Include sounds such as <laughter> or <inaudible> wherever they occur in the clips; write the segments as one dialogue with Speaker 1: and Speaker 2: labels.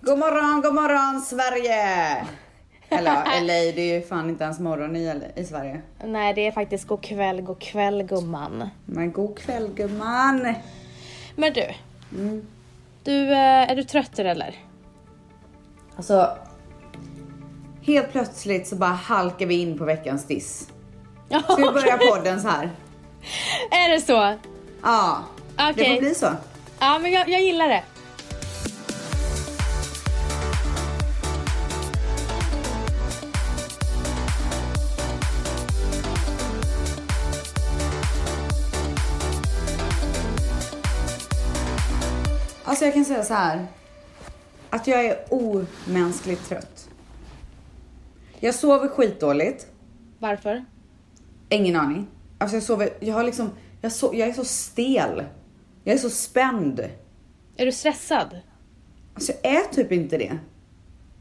Speaker 1: God morgon, god morgon Sverige! Eller ja, LA, det är ju fan inte ens morgon i, LA, i Sverige.
Speaker 2: Nej, det är faktiskt god kväll, god kväll gumman.
Speaker 1: Men god kväll gumman!
Speaker 2: Men du. Mm. Du, eh, är du trött eller?
Speaker 1: Alltså, helt plötsligt så bara halkar vi in på veckans diss. Ska vi börja podden så här?
Speaker 2: är det så?
Speaker 1: Ja, det
Speaker 2: Okej.
Speaker 1: får bli så.
Speaker 2: Ja, men jag, jag gillar det.
Speaker 1: Alltså jag kan säga så här. Att jag är omänskligt trött. Jag sover skitdåligt.
Speaker 2: Varför?
Speaker 1: Ingen aning. Alltså jag sover, jag har liksom, jag, so, jag är så stel. Jag är så spänd.
Speaker 2: Är du stressad?
Speaker 1: Alltså jag är typ inte det.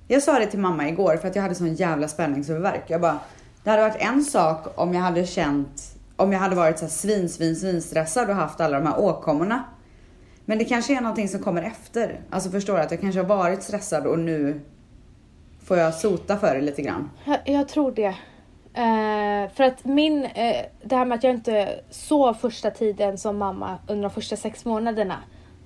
Speaker 1: Jag sa det till mamma igår för att jag hade sån jävla spänningshuvudvärk. Jag bara, det hade varit en sak om jag hade känt, om jag hade varit så här svin, svin, svin stressad och haft alla de här åkommorna. Men det kanske är någonting som kommer efter. Alltså förstår du att jag kanske har varit stressad och nu får jag sota för det lite grann.
Speaker 2: Jag, jag tror det. Eh, för att min, eh, det här med att jag inte sov första tiden som mamma under de första sex månaderna.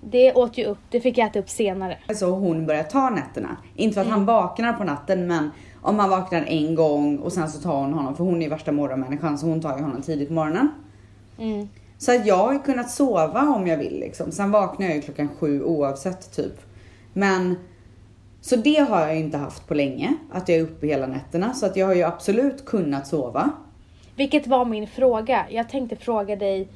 Speaker 2: Det åt ju upp, det fick jag äta upp senare.
Speaker 1: Alltså hon börjar ta nätterna. Inte för att han vaknar på natten men om han vaknar en gång och sen så tar hon honom för hon är ju värsta morgonmänniskan så hon tar ju honom tidigt på morgonen.
Speaker 2: Mm.
Speaker 1: Så att jag har ju kunnat sova om jag vill liksom. Sen vaknar jag ju klockan sju oavsett typ. Men så det har jag ju inte haft på länge, att jag är uppe hela nätterna. Så att jag har ju absolut kunnat sova.
Speaker 2: Vilket var min fråga. Jag tänkte fråga dig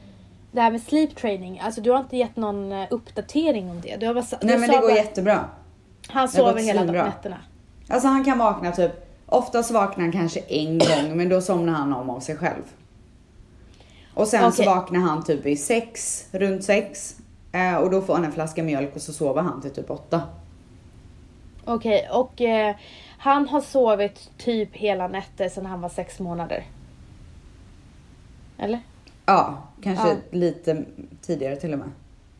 Speaker 2: det här med sleep training. Alltså du har inte gett någon eh, uppdatering om det. Du har bara, sa-
Speaker 1: Nej
Speaker 2: du
Speaker 1: men
Speaker 2: sa
Speaker 1: det går
Speaker 2: bara,
Speaker 1: jättebra.
Speaker 2: Han
Speaker 1: det har
Speaker 2: sover
Speaker 1: gått
Speaker 2: hela
Speaker 1: svinbra.
Speaker 2: nätterna.
Speaker 1: Alltså han kan vakna typ, oftast vaknar han kanske en gång men då somnar han om av sig själv. Och sen så
Speaker 2: Okej.
Speaker 1: vaknar han typ i sex, runt sex. Eh, Och då får han en flaska mjölk och så sover han till typ åtta.
Speaker 2: Okej, och eh, han har sovit typ hela nätter sedan han var sex månader. Eller?
Speaker 1: Ja, kanske
Speaker 2: Ja.
Speaker 1: lite tidigare till och med.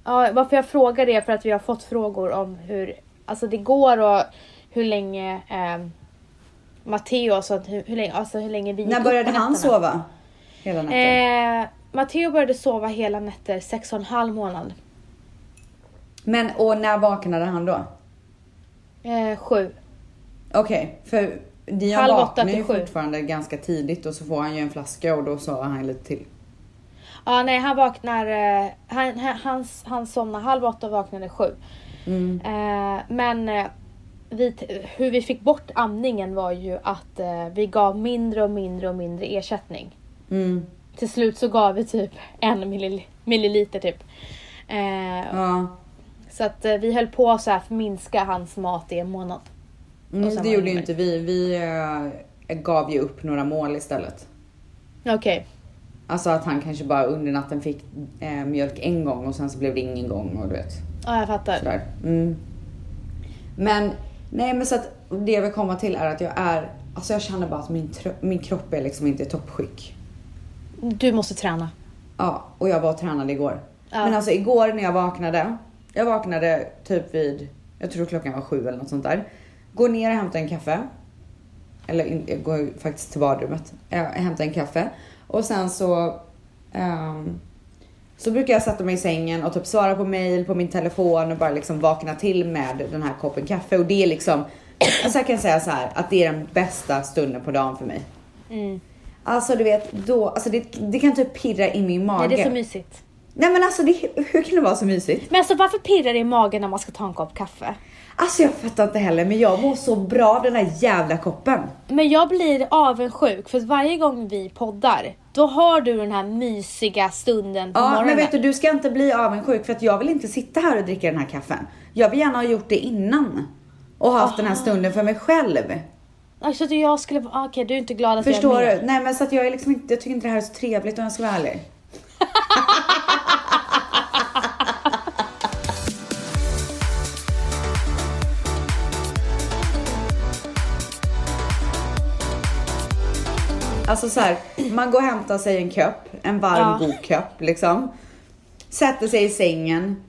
Speaker 2: Ja, varför jag frågar det är för att vi har fått frågor om hur alltså det går och hur länge eh, Matteo, alltså hur, hur länge, alltså hur länge vi gick
Speaker 1: När
Speaker 2: upp
Speaker 1: började
Speaker 2: på
Speaker 1: han
Speaker 2: nätterna.
Speaker 1: sova? Hela natten?
Speaker 2: Eh, Matteo började sova hela nätter sex och en halv månad.
Speaker 1: Men och när vaknade han då?
Speaker 2: Eh, sju.
Speaker 1: Okej, för Dion
Speaker 2: Halv åtta
Speaker 1: vaknar
Speaker 2: till
Speaker 1: ju
Speaker 2: sju.
Speaker 1: fortfarande ganska tidigt och så får han ju en flaska och då sover han lite till.
Speaker 2: Ja, nej, han vaknar, eh, han, han, han, han somnar halv åtta och vaknade sju.
Speaker 1: Mm.
Speaker 2: Eh, men eh, vi, t- hur vi fick bort amningen var ju att eh, vi gav mindre och mindre och mindre ersättning.
Speaker 1: Mm.
Speaker 2: Till slut så gav vi typ en millil- milliliter typ. Eh,
Speaker 1: Ja.
Speaker 2: så att eh, vi höll på så här för att minska hans mat i en månad. Och sen
Speaker 1: Mm,
Speaker 2: var
Speaker 1: det
Speaker 2: det
Speaker 1: gjorde ju
Speaker 2: inne.
Speaker 1: inte vi. Vi eh, gav ju upp några mål istället.
Speaker 2: Okej.
Speaker 1: Alltså att han kanske bara under natten fick eh, mjölk en gång och sen så blev det ingen gång och du vet.
Speaker 2: Ja, jag fattar.
Speaker 1: Sådär. Mm. Men nej men så att det jag vill komma till är att jag är, alltså jag känner bara att min, tro- min kropp är liksom inte i toppskick.
Speaker 2: Du måste träna.
Speaker 1: Ja, och jag var och tränade igår.
Speaker 2: Ja.
Speaker 1: Men alltså igår när jag vaknade. Jag vaknade typ vid, jag tror klockan var sju eller något sånt där. Går ner och hämtar en kaffe. Eller in, jag går ju faktiskt till badrummet. Jag hämtar en kaffe. Och sen så ehm, så brukar jag sätta mig i sängen och typ svara på mail på min telefon och bara liksom vakna till med den här koppen kaffe. Och det är liksom, så här kan jag säga så här att det är den bästa stunden på dagen för mig.
Speaker 2: Mm.
Speaker 1: Alltså du vet, då, alltså det, det kan typ pirra i min mage.
Speaker 2: Nej, det är så mysigt.
Speaker 1: Nej men alltså det, hur kan det vara så mysigt?
Speaker 2: Men alltså varför pirrar det i magen när man ska ta en kopp kaffe?
Speaker 1: Alltså jag fattar inte heller men jag mår så bra av den här jävla koppen.
Speaker 2: Men jag blir avundsjuk för att varje gång vi poddar då har du den här mysiga stunden på
Speaker 1: Ja men
Speaker 2: morgonen.
Speaker 1: vet du, du ska inte bli avundsjuk för att jag vill inte sitta här och dricka den här kaffen. Jag vill gärna ha gjort det innan. Och haft den här stunden för mig själv.
Speaker 2: Alltså, att jag skulle... ah, Okej, du är inte glad att
Speaker 1: Förstår
Speaker 2: Alltså, jag är med.
Speaker 1: du? Nej men så att jag är liksom inte, jag tycker inte det här är så trevligt om jag ska vara ärlig. <laughs> Alltså så här, man går och hämtar sig en kopp, en varm
Speaker 2: Ja.
Speaker 1: god kopp liksom. Sätter sig i sängen.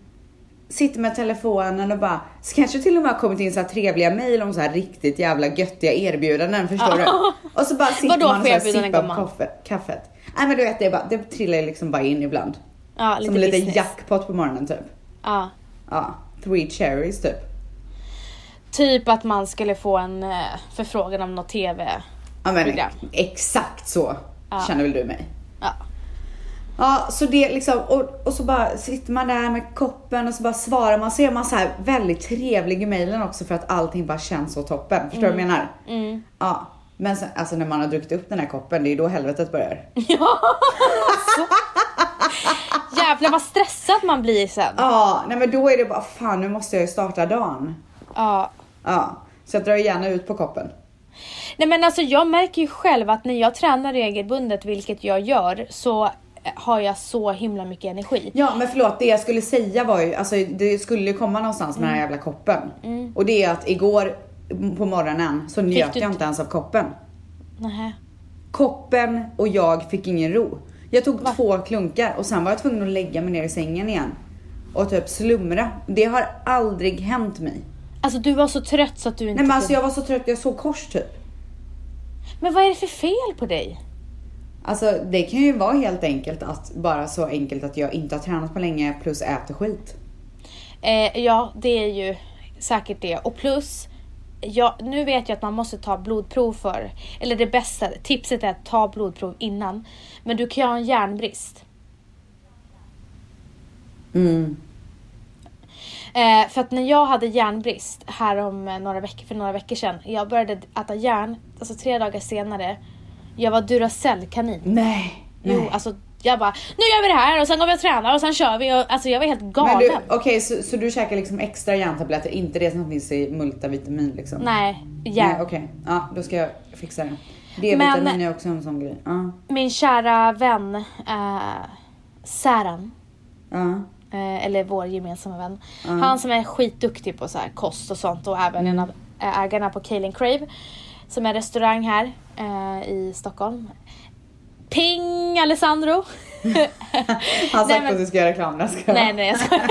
Speaker 1: sitter med telefonen och bara, så kanske till och med har kommit in så här trevliga mejl om så här riktigt jävla göttiga erbjudanden,
Speaker 2: <laughs>
Speaker 1: förstår du? Och så bara sitter
Speaker 2: Vadå
Speaker 1: man och
Speaker 2: för
Speaker 1: så här
Speaker 2: erbjudanden,
Speaker 1: sippar
Speaker 2: gumman?
Speaker 1: kaffe, kaffet. Nej men du vet, det, är bara, det trillar ju liksom bara in ibland.
Speaker 2: Ja, lite
Speaker 1: Som lite
Speaker 2: business.
Speaker 1: jackpot på morgonen typ.
Speaker 2: Ja.
Speaker 1: Ja, three cherries typ.
Speaker 2: Typ att man skulle få en eh, förfrågan om något TV.
Speaker 1: Ja men
Speaker 2: Program.
Speaker 1: exakt så
Speaker 2: Ja.
Speaker 1: känner väl du mig.
Speaker 2: Ja.
Speaker 1: Ja, så det liksom, och, och så bara sitter man där med koppen och så bara svarar man, så är man så här väldigt trevlig i mejlen också för att allting bara känns så toppen. Förstår du vad jag
Speaker 2: Mm.
Speaker 1: menar? Ja, men sen, alltså när man har druckit upp den här koppen, det är ju då helvetet börjar.
Speaker 2: Jävlar vad stressad man blir sen.
Speaker 1: Ja, nej men då är det bara fan nu måste jag ju starta dagen.
Speaker 2: Ja.
Speaker 1: Ja, så jag drar gärna ut på koppen.
Speaker 2: Nej men alltså jag märker ju själv att när jag tränar regelbundet, vilket jag gör, så eh, har jag så himla mycket energi.
Speaker 1: Ja, men förlåt, det jag skulle säga var ju, alltså det skulle ju komma någonstans med den
Speaker 2: Mm.
Speaker 1: här jävla koppen. Och det är att igår på morgonen så njöt
Speaker 2: du
Speaker 1: jag
Speaker 2: inte-
Speaker 1: inte ens av koppen.
Speaker 2: Nähä.
Speaker 1: Koppen och jag fick ingen ro. Jag tog två klunkar och sen var jag tvungen att lägga mig ner i sängen igen. Och typ slumra. Det har aldrig hänt mig.
Speaker 2: Alltså du var så trött så att du inte
Speaker 1: Nej men alltså
Speaker 2: kunde-
Speaker 1: jag var så trött, jag såg kors typ.
Speaker 2: Men vad är det för fel på dig?
Speaker 1: Alltså det kan ju vara helt enkelt att, bara så enkelt att jag inte har tränat på länge plus äter skit.
Speaker 2: Eh, ja, det är ju säkert det. Och plus, ja, nu vet jag att man måste ta blodprov för, eller det bästa tipset är att ta blodprov innan. Men du kan ju ha en järnbrist.
Speaker 1: Mm.
Speaker 2: Eh, för att när jag hade järnbrist här om eh, några veckor, för några veckor sedan, jag började äta järn, alltså tre dagar senare, jag var Duracell-kanin.
Speaker 1: Nej.
Speaker 2: Jo, alltså jag bara, nu gör vi det här och sen går vi och tränar och sen kör vi och alltså jag var helt
Speaker 1: Men du,
Speaker 2: galen.
Speaker 1: okej så, så du käkar liksom extra järntabletter, inte det som finns i multivitamin liksom?
Speaker 2: Nej, järn.
Speaker 1: Nej, Okej, ja då ska jag fixa det. D-vitamin är också en sån grej. Ja.
Speaker 2: Min kära vän eh, Säran,
Speaker 1: Ja.
Speaker 2: eh, eller vår gemensamma vän. Han som är skitduktig på så här kost och sånt och även
Speaker 1: Mm.
Speaker 2: en av eh, ägarna på Kale and Crave. Som är en restaurang här eh, i Stockholm. Ping
Speaker 1: <laughs>
Speaker 2: Alessandro!
Speaker 1: Han har sagt
Speaker 2: Nej,
Speaker 1: att
Speaker 2: men-
Speaker 1: du ska göra reklam, jag ska.
Speaker 2: Nej nej jag skojar.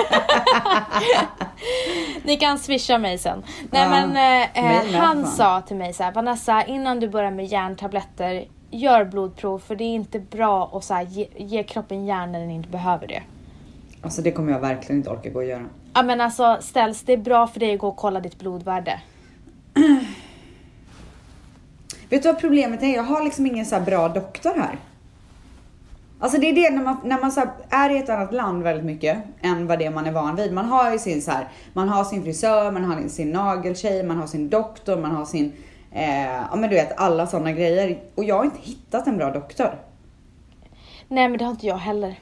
Speaker 2: <laughs> Ni kan swisha mig sen. Nej
Speaker 1: Ja,
Speaker 2: men eh,
Speaker 1: mig med,
Speaker 2: eh, han
Speaker 1: fan.
Speaker 2: sa till mig så här, Vanessa innan du börjar med järntabletter gör blodprov för det är inte bra att så här, ge, ge kroppen järn när den inte behöver det.
Speaker 1: Alltså det kommer jag verkligen inte orka gå och göra.
Speaker 2: Ja men alltså ställs det är bra för dig att gå och kolla ditt blodvärde.
Speaker 1: Vet du vad problemet är? Jag har liksom ingen så här bra doktor här. Alltså det är det när man, när man så här är i ett annat land väldigt mycket än vad det man är van vid. Man har ju sin så här, man har sin frisör, man har sin nageltjej, man har sin doktor, man har sin, eh, ja men du vet alla sådana grejer. Och jag har inte hittat en bra doktor.
Speaker 2: Nej men det har inte jag heller.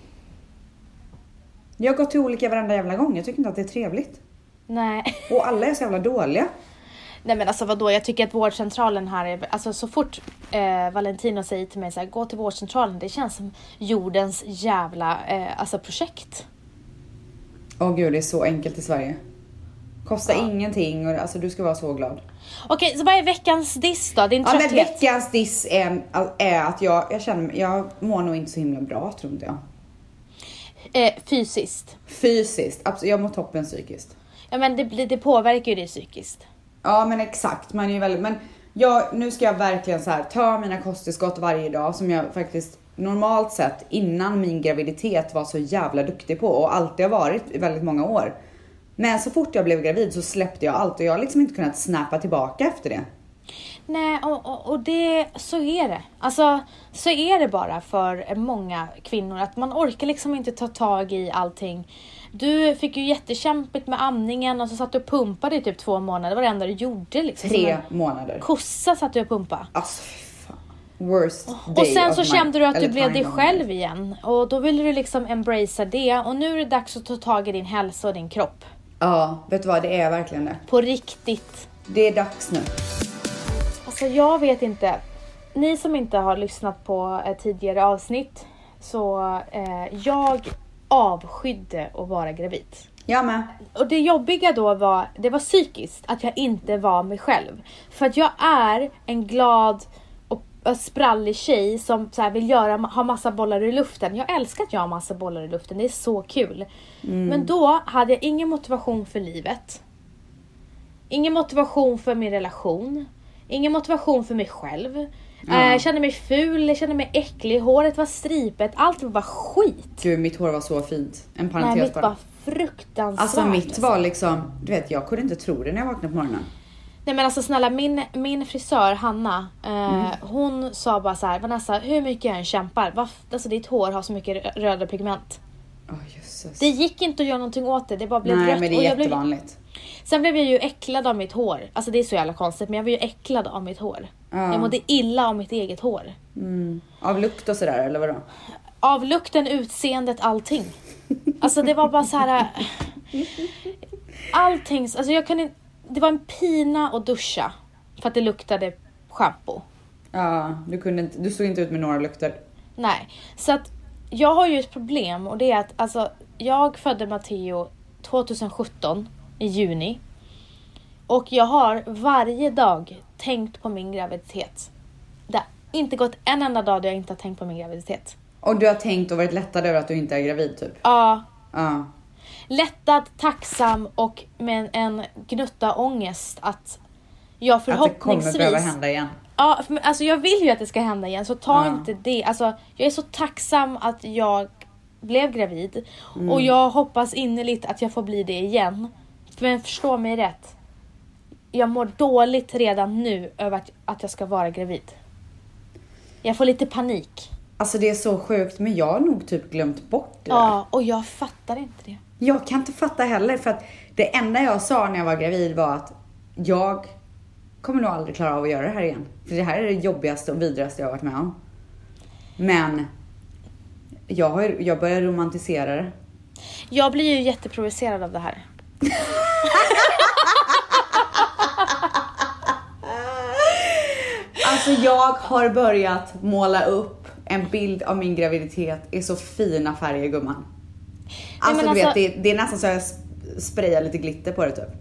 Speaker 1: Jag har gått till olika varenda jävla gång, jag tycker inte att det är trevligt.
Speaker 2: Nej. <laughs>
Speaker 1: Och alla är så jävla dåliga.
Speaker 2: Nej men alltså vadå, jag tycker att vårdcentralen här är, alltså så fort eh, Valentino säger till mig så här, gå till vårdcentralen, det känns som jordens jävla eh, alltså projekt.
Speaker 1: Åh gud, det är så enkelt i Sverige. Kostar ingenting och alltså du ska vara så glad.
Speaker 2: Okej, så vad är veckans diss då? Din
Speaker 1: Ja men
Speaker 2: trötthet?
Speaker 1: veckans diss är, är att jag, jag känner jag mår nog inte så himla bra tror inte jag.
Speaker 2: eh, fysiskt.
Speaker 1: Fysiskt, absolut, jag mår toppen psykiskt.
Speaker 2: Ja men det, blir- det påverkar ju dig psykiskt.
Speaker 1: Ja men exakt, man är ju väldigt, men jag, nu ska jag verkligen så här, ta mina kosttillskott varje dag som jag faktiskt normalt sett innan min graviditet var så jävla duktig på och alltid har varit i väldigt många år. Men så fort jag blev gravid så släppte jag allt och jag har liksom inte kunnat snappa tillbaka efter det.
Speaker 2: Nej, och, och, och det, så är det. Alltså, så är det bara för många kvinnor att man orkar liksom inte ta tag i allting. Du fick ju jättekämpigt med amningen och så satt du och pumpade i typ två månader. Det var det enda du gjorde liksom. Som
Speaker 1: Tre
Speaker 2: en
Speaker 1: månader.
Speaker 2: Kossa satt du och pumpade.
Speaker 1: Alltså fy fan. Worst day
Speaker 2: Och sen
Speaker 1: of
Speaker 2: så
Speaker 1: my-
Speaker 2: kände du att
Speaker 1: eller
Speaker 2: du blev
Speaker 1: time
Speaker 2: dig
Speaker 1: of my
Speaker 2: själv igen och då ville du liksom embracea det och nu är det dags att ta tag i din hälsa och din kropp.
Speaker 1: Ja, vet du vad? Det är verkligen det.
Speaker 2: På riktigt.
Speaker 1: Det är dags nu.
Speaker 2: Alltså jag vet inte. Ni som inte har lyssnat på eh, tidigare avsnitt så eh, jag avskydde att vara gravid.
Speaker 1: Jag med.
Speaker 2: Och det jobbiga då var, det var psykiskt att jag inte var mig själv. För att jag är en glad och en sprallig tjej som så här vill göra, ha massa bollar i luften. Jag älskar att jag har massa bollar i luften, det är så kul.
Speaker 1: Mm.
Speaker 2: Men då hade jag ingen motivation för livet. Ingen motivation för min relation. Ingen motivation för mig själv. Eh, Jag kände mig ful, jag kände mig äcklig, håret var stripet, allt var bara skit.
Speaker 1: Gud mitt hår var så fint. En
Speaker 2: Nej,
Speaker 1: parentes
Speaker 2: mitt
Speaker 1: bara.
Speaker 2: var fruktansvärt.
Speaker 1: Alltså mitt var liksom, du vet jag kunde inte tro det när jag vaknade på morgonen.
Speaker 2: Nej men alltså snälla min, min frisör Hanna, eh,
Speaker 1: Mm.
Speaker 2: hon sa bara så här: Vanessa hur mycket jag än kämpar, varf- alltså ditt hår har så mycket rö- röda pigment.
Speaker 1: Åh jösses.
Speaker 2: Det gick inte att göra någonting åt det, det bara blev
Speaker 1: Nej
Speaker 2: rött.
Speaker 1: men det
Speaker 2: och
Speaker 1: är
Speaker 2: jag blev,
Speaker 1: jättevanligt.
Speaker 2: sen blev jag ju äcklad av mitt hår. Alltså det är så jävla konstigt men jag var ju äcklad av mitt hår.
Speaker 1: Ja.
Speaker 2: Jag mådde illa av mitt eget hår.
Speaker 1: Mm. Av lukt och sådär eller vadå?
Speaker 2: Av lukten, utseendet, allting. Alltså det var bara så här. eh, Allting, alltså jag kunde Det var en pina att duscha. För att det luktade schampo.
Speaker 1: Ja, du kunde inte, du såg inte ut med några lukter.
Speaker 2: Nej, så att jag har ju ett problem och det är att alltså, jag födde Matteo 2017 i juni. Och jag har varje dag tänkt på min graviditet. Det har inte gått en enda dag då jag inte har tänkt på min graviditet.
Speaker 1: Och du har tänkt och varit lättad över att du inte är gravid typ?
Speaker 2: Ja,
Speaker 1: Ja.
Speaker 2: lättad, tacksam och med en gnutta ångest att jag
Speaker 1: Att det kommer behöva
Speaker 2: förhoppningsvis
Speaker 1: hända igen.
Speaker 2: Ja, för, men alltså jag vill ju att det ska hända igen så ta
Speaker 1: Ja.
Speaker 2: inte det. Alltså, jag är så tacksam att jag blev gravid och jag hoppas innerligt att jag får bli det igen. Men förstå mig rätt. Jag mår dåligt redan nu över att, att jag ska vara gravid. Jag får lite panik.
Speaker 1: Alltså det är så sjukt men jag har nog typ glömt bort det. där.
Speaker 2: Ja, och jag fattar inte det.
Speaker 1: Jag kan inte fatta heller för att det enda jag sa när jag var gravid var att jag kommer nog aldrig klara av att göra det här igen. För det här är det jobbigaste och vidrigaste jag har varit med om. Men jag, har, ju- jag börjar romantisera det.
Speaker 2: Jag blir ju jätteprovocerad av det här.
Speaker 1: Alltså jag har börjat måla upp en bild av min graviditet i så fina färger gumman. Alltså,
Speaker 2: men
Speaker 1: du vet,
Speaker 2: alltså-
Speaker 1: det, är- det är nästan så jag sp- sprayar lite glitter på det typ.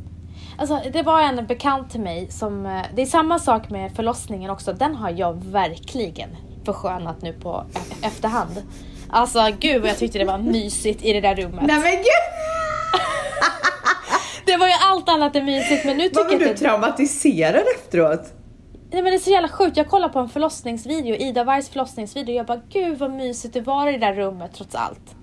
Speaker 2: Alltså, det var en bekant till mig som... eh, Det är samma sak med förlossningen också. Den har jag verkligen förskönat nu på e- efterhand. Alltså gud vad jag tyckte det var mysigt i det där rummet.
Speaker 1: Nej men gud!
Speaker 2: Det var ju allt annat än mysigt men nu
Speaker 1: Vad
Speaker 2: tycker
Speaker 1: var
Speaker 2: jag
Speaker 1: du
Speaker 2: att det,
Speaker 1: traumatiserad efteråt?
Speaker 2: nej, men det är så jävla sjukt. Jag kollar på en förlossningsvideo, Ida Wargs förlossningsvideo. Jag bara gud vad mysigt det var i det där rummet trots allt.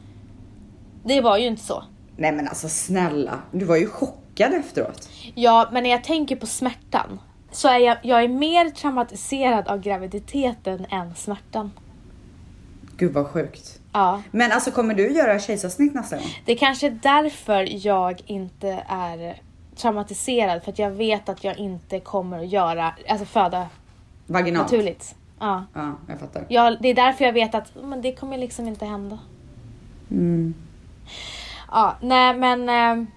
Speaker 2: Det var ju inte så.
Speaker 1: Nej men alltså snälla, du var ju chockad efteråt.
Speaker 2: Ja, men när jag tänker på smärtan så är jag, jag är mer traumatiserad av graviditeten än smärtan.
Speaker 1: Gud vad sjukt.
Speaker 2: Ja.
Speaker 1: Men alltså kommer du göra kejsarsnitt nästa gång?
Speaker 2: Det kanske är därför jag inte är traumatiserad för att jag vet att jag inte kommer att göra, alltså föda
Speaker 1: Vaginalt?
Speaker 2: naturligt. Ja.
Speaker 1: Ja, jag fattar.
Speaker 2: Jag, det är därför jag vet att men det kommer liksom inte hända.
Speaker 1: Mm.
Speaker 2: Ja, nej men eh,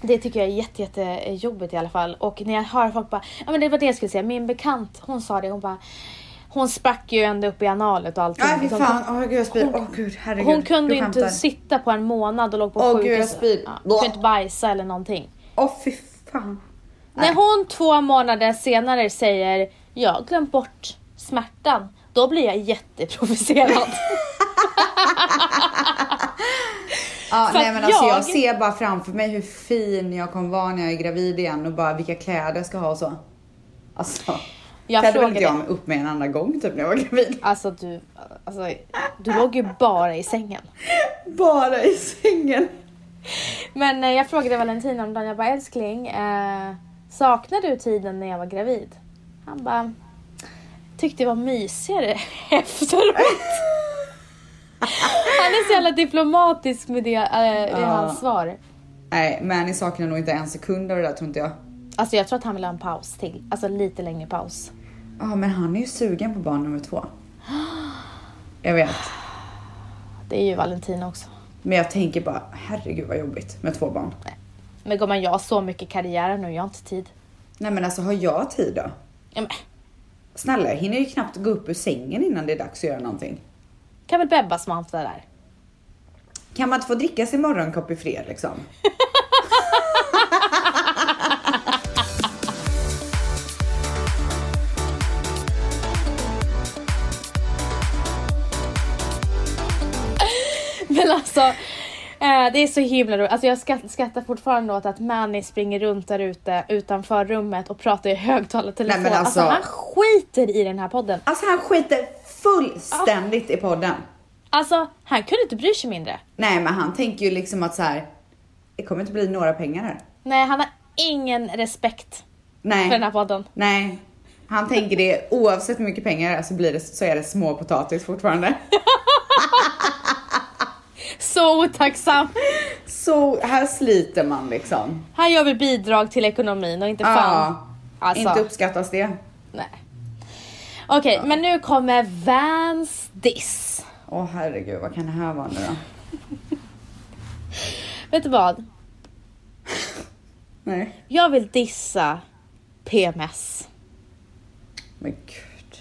Speaker 2: det tycker jag är jätte, jättejobbigt i alla fall. Och när jag hör folk bara, ja men det var det jag skulle säga, min bekant hon sa det, hon bara hon sprack ju ända upp i analet och allting. Liksom,
Speaker 1: Nej fy
Speaker 2: De-
Speaker 1: fan, åh gud jag spyr.
Speaker 2: Hon-
Speaker 1: Åh gud herregud.
Speaker 2: hon kunde
Speaker 1: Du
Speaker 2: ju inte
Speaker 1: skämtar.
Speaker 2: sitta på en månad och låg på
Speaker 1: Åh, gud, jag
Speaker 2: sjukhus.
Speaker 1: spyr.
Speaker 2: Ja, kunde inte bajsa eller någonting.
Speaker 1: Åh fy fan.
Speaker 2: När hon två månader senare säger jag har glömt bort smärtan, då blir
Speaker 1: <laughs>
Speaker 2: jag jätteprovocerad.
Speaker 1: Ja,
Speaker 2: För
Speaker 1: nej
Speaker 2: att
Speaker 1: men alltså jag...
Speaker 2: jag-
Speaker 1: ser bara framför mig hur fin jag kommer vara när jag är gravid igen och bara vilka kläder jag ska ha och så. Alltså. klädde
Speaker 2: Jag
Speaker 1: väl
Speaker 2: frågade-
Speaker 1: inte jag mig upp med en andra gång typ när jag var gravid. <laughs>
Speaker 2: alltså du, alltså, du låg ju bara i sängen.
Speaker 1: Bara i sängen.
Speaker 2: Men eh, jag frågade Valentin om dagen, jag bara älskling, eh, saknar du tiden när jag var gravid? Han bara, tyckte det var mysigare <laughs> efteråt. Han är så jävla diplomatisk med det eh, i
Speaker 1: Ja.
Speaker 2: hans svar.
Speaker 1: Nej men ni saknar nog inte en sekund av det där tror inte jag.
Speaker 2: Alltså jag tror att han vill ha en paus till, alltså lite längre paus.
Speaker 1: Ja men han är ju sugen på barn nummer två. Jag vet.
Speaker 2: Det är ju Valentin också.
Speaker 1: Men jag tänker bara herregud vad jobbigt med två barn.
Speaker 2: Men gumman jag har så mycket karriär nu, jag har inte tid.
Speaker 1: Nej men alltså har jag tid då?
Speaker 2: Ja, men,
Speaker 1: Snälla jag hinner ju knappt gå upp ur sängen innan det är dags att göra någonting.
Speaker 2: kan väl Bebba smanta där.
Speaker 1: Kan man inte få dricka sin morgonkopp i fred liksom?
Speaker 2: <laughs> Men alltså, eh, det är så himla roligt. Alltså jag skratt- skrattar fortfarande åt att Manny springer runt där ute utanför rummet och pratar i högtalartelefon.
Speaker 1: Nej, men
Speaker 2: alltså,
Speaker 1: alltså-
Speaker 2: han skiter i den här podden.
Speaker 1: Alltså han skiter fullständigt i podden.
Speaker 2: Alltså, han kunde inte bry sig mindre.
Speaker 1: Nej men han tänker ju liksom att så här. det kommer inte bli några pengar här.
Speaker 2: Nej, han har ingen respekt för den
Speaker 1: Nej,
Speaker 2: här podden.
Speaker 1: nej. Han tänker det oavsett hur mycket pengar det är så, blir det, så är det småpotatis fortfarande.
Speaker 2: <laughs> Så otacksam.
Speaker 1: Så här sliter man liksom.
Speaker 2: Han gör väl bidrag till ekonomin och inte fan.
Speaker 1: Ja,
Speaker 2: Alltså,
Speaker 1: Inte uppskattas det.
Speaker 2: nej. Okej, men nu kommer Vans diss.
Speaker 1: Åh herregud, vad kan det här vara nu då?
Speaker 2: Vet du vad?
Speaker 1: Nej.
Speaker 2: Jag vill dissa PMS.
Speaker 1: Men gud.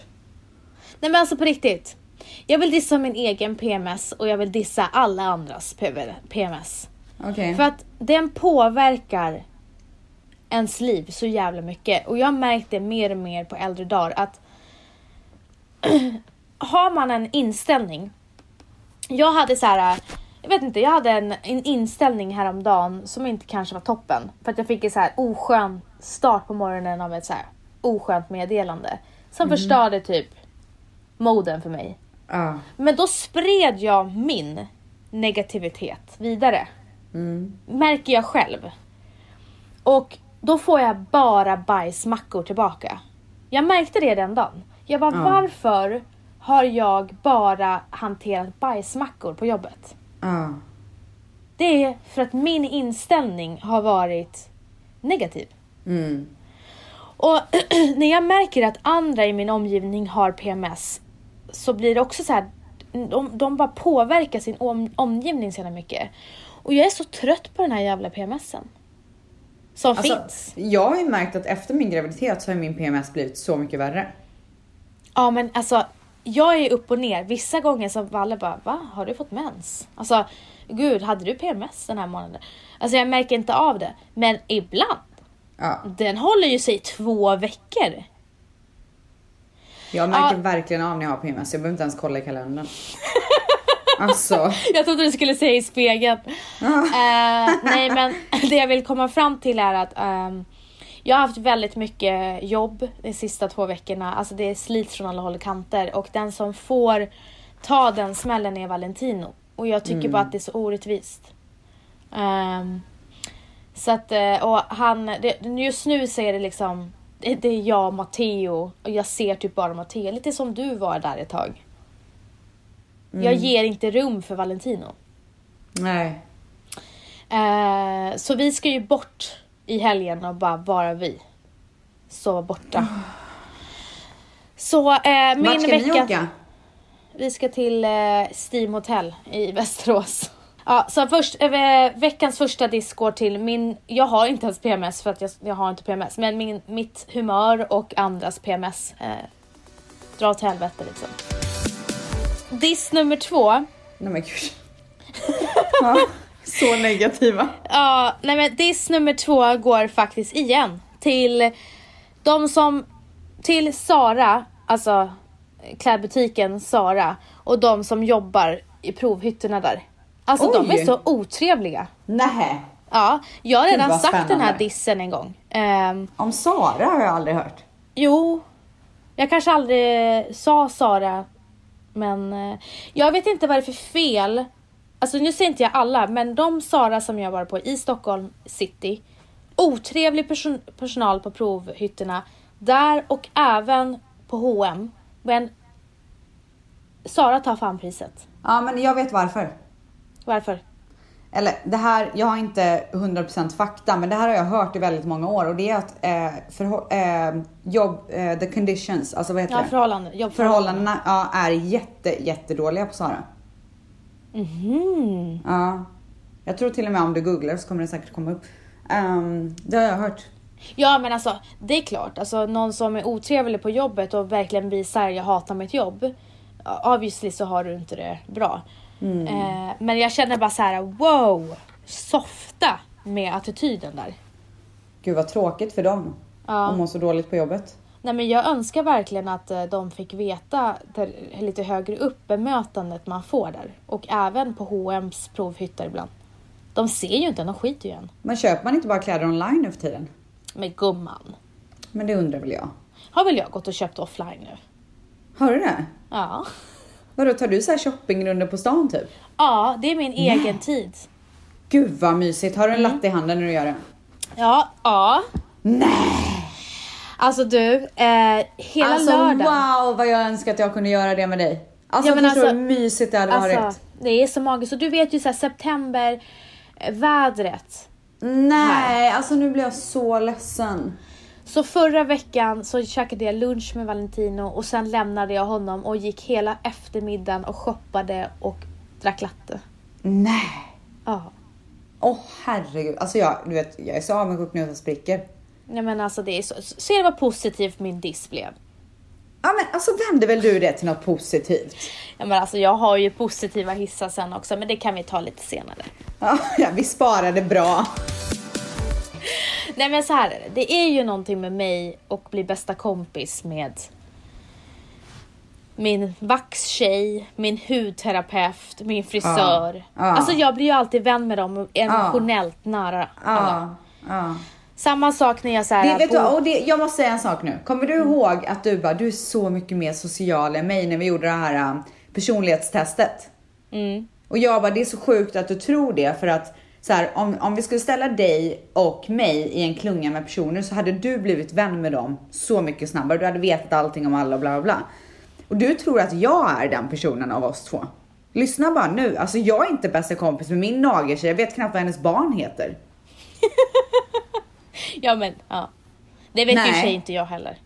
Speaker 2: Nej men alltså på riktigt. Jag vill dissa min egen PMS och jag vill dissa alla andras PV PMS.
Speaker 1: Okej.
Speaker 2: För att den påverkar ens liv så jävla mycket. Och jag har märkt det mer och mer på äldre dagar att <clears throat> har man en inställning. Jag hade så här, jag vet inte, jag hade en, en inställning häromdagen som inte kanske var toppen. För att jag fick en så här oskön start på morgonen av ett så här oskönt meddelande. Som förstörde typ moden för mig.
Speaker 1: Ja.
Speaker 2: Men då spred jag min negativitet vidare.
Speaker 1: Mm.
Speaker 2: Märker jag själv. Och då får jag bara bajsmackor tillbaka. Jag märkte det den dagen. Jag bara,
Speaker 1: Ja.
Speaker 2: varför har jag bara hanterat bajsmackor på jobbet?
Speaker 1: Ja.
Speaker 2: Det är för att min inställning har varit negativ.
Speaker 1: Mm.
Speaker 2: Och <clears throat> när jag märker att andra i min omgivning har PMS så blir det också så här, de, de bara påverkar sin om, omgivning så jävla mycket. Och jag är så trött på den här jävla PMSen. Som finns.
Speaker 1: Alltså, jag har ju märkt att efter min graviditet så har min PMS blivit så mycket värre.
Speaker 2: Ja men alltså, jag är upp och ner. Vissa gånger så var alla bara, va? Har du fått mens? Alltså, gud, hade du PMS den här månaden? Alltså jag märker inte av det. Men ibland,
Speaker 1: Ja,
Speaker 2: den håller ju sig i två veckor.
Speaker 1: jag märker
Speaker 2: Ja.
Speaker 1: verkligen av när jag har PMS. Jag behöver inte ens kolla i
Speaker 2: <laughs>
Speaker 1: kalendern. alltså, Ah.
Speaker 2: Jag trodde du skulle säga i spegeln. Eh, nej men <laughs> det jag vill komma fram till är att ehm, jag har haft väldigt mycket jobb de sista två veckorna. Alltså det slits från alla håll och kanter och den som får ta den smällen är Valentino. Och jag tycker bara att det är så orättvist. Ehm, så att, eh, och han, det, just nu så är det liksom, det, det är jag och Matteo och jag ser typ bara Matteo. Lite som du var där ett tag. Jag ger inte rum för Valentino.
Speaker 1: nej.
Speaker 2: Eh, så vi ska ju bort i helgen och bara vara vi. Sova borta. Så eh, min
Speaker 1: Vart ska
Speaker 2: vecka...
Speaker 1: ni åka?
Speaker 2: Vi ska till eh, Steam Hotel i <laughs> Västerås. Ja, så först, eh, veckans första disk går till min, jag har inte ens PMS för att jag, jag har inte PMS, men min, mitt humör och andras PMS eh, drar åt helvete liksom. Diss nummer två
Speaker 1: Nej men gud. ja, så negativa.
Speaker 2: Ja, nej men diss nummer två går faktiskt igen till de som, till Sara, alltså klädbutiken Sara och de som jobbar i provhytterna där. Alltså de
Speaker 1: Oj.
Speaker 2: är så otrevliga.
Speaker 1: Nej.
Speaker 2: Ja, jag har redan
Speaker 1: vad
Speaker 2: sagt den här
Speaker 1: spännande.
Speaker 2: dissen en gång. Ehm,
Speaker 1: Om Sara har jag aldrig hört.
Speaker 2: jo, jag kanske aldrig sa Sara, men eh, jag vet inte vad det är för fel. Alltså nu säger inte jag alla, men de Sara som jag var på i Stockholm city, otrevlig person- personal på provhytterna där och även på H&M. Men Sara tar fan priset.
Speaker 1: Ja men jag vet varför.
Speaker 2: Varför?
Speaker 1: Eller det här, jag har inte 100% fakta men det här har jag hört i väldigt många år och det är att eh, förhå- eh, jobb, eh, the conditions, alltså vad heter
Speaker 2: Ja,
Speaker 1: det?
Speaker 2: förhållanden. Jobbförhållanden.
Speaker 1: Förhållandena ja, är jätte, jättedåliga på Sara.
Speaker 2: Mhm.
Speaker 1: Ja. Jag tror till och med om du googlar så kommer det säkert komma upp. Ehm, det har jag hört.
Speaker 2: Ja men alltså det är klart, alltså, någon som är otrevlig på jobbet och verkligen visar jag hatar mitt jobb. Obviously så har du inte det bra. Eh, men jag känner bara så här: wow! Softa med attityden där.
Speaker 1: Gud vad tråkigt för dem.
Speaker 2: Ja.
Speaker 1: De mår så dåligt på jobbet.
Speaker 2: Nej men jag önskar verkligen att eh, de fick veta där, lite högre upp bemötandet man får där. Och även på H&M's provhytter ibland. De ser ju inte en, de skiter ju i en.
Speaker 1: Men köper man inte bara kläder online nu för tiden?
Speaker 2: Men gumman,
Speaker 1: Men det undrar väl jag.
Speaker 2: har väl jag gått och köpt offline nu?
Speaker 1: Har du det?
Speaker 2: Ja.
Speaker 1: Vadå, tar du så här shoppingrundor på stan typ?
Speaker 2: Ja, det är min egen tid.
Speaker 1: Gud vad mysigt. Har du en
Speaker 2: Mm.
Speaker 1: latte i handen när du gör det?
Speaker 2: Ja, ja.
Speaker 1: Nej!
Speaker 2: Alltså du, eh, hela
Speaker 1: alltså
Speaker 2: lördagen.
Speaker 1: wow vad jag önskar att jag kunde göra det med dig. Alltså
Speaker 2: Ja, men
Speaker 1: förstår du
Speaker 2: alltså-
Speaker 1: hur mysigt det hade varit?
Speaker 2: Alltså, det är så magiskt. Och du vet ju så här, september, eh, vädret.
Speaker 1: Nej, alltså nu blir jag så ledsen.
Speaker 2: Så förra veckan så käkade jag lunch med Valentino och sen lämnade jag honom och gick hela eftermiddagen och shoppade och drack latte.
Speaker 1: Nej.
Speaker 2: Ja.
Speaker 1: Åh herregud. Alltså jag, du vet, jag är så avundsjuk nu att jag spricker.
Speaker 2: Nej men alltså det är så, ser du vad positivt min diss blev?
Speaker 1: Ja men alltså vänder väl du det till något positivt?
Speaker 2: Ja, men alltså jag har ju positiva hissar sen också men det kan vi ta lite senare.
Speaker 1: Ja, <laughs> vi sparade bra.
Speaker 2: Nej men så här är det. Det är ju någonting med mig och bli bästa kompis med min vaxtjej, min hudterapeut, min frisör.
Speaker 1: Ja, ja.
Speaker 2: Alltså jag blir ju alltid vän med dem och emotionellt nära. alla.
Speaker 1: Ja, ja.
Speaker 2: Samma sak när jag
Speaker 1: Det,
Speaker 2: såhär... Mm.
Speaker 1: vet du, och det, jag måste säga en sak nu. Kommer du ihåg att du bara, du är så mycket mer social än mig när vi gjorde det här äh, personlighetstestet?
Speaker 2: Mm.
Speaker 1: Och jag bara, det är så sjukt att du tror det för att så här, om, om vi skulle ställa dig och mig i en klunga med personer så hade du blivit vän med dem så mycket snabbare. Du hade vetat allting om alla och bla bla bla. Och du tror att jag är den personen av oss två. Lyssna bara nu, alltså jag är inte bästa kompis med min nageltjej, jag vet knappt vad hennes barn heter.
Speaker 2: Ja men ja. Det vet ju i och för
Speaker 1: Nej.
Speaker 2: sig inte jag heller.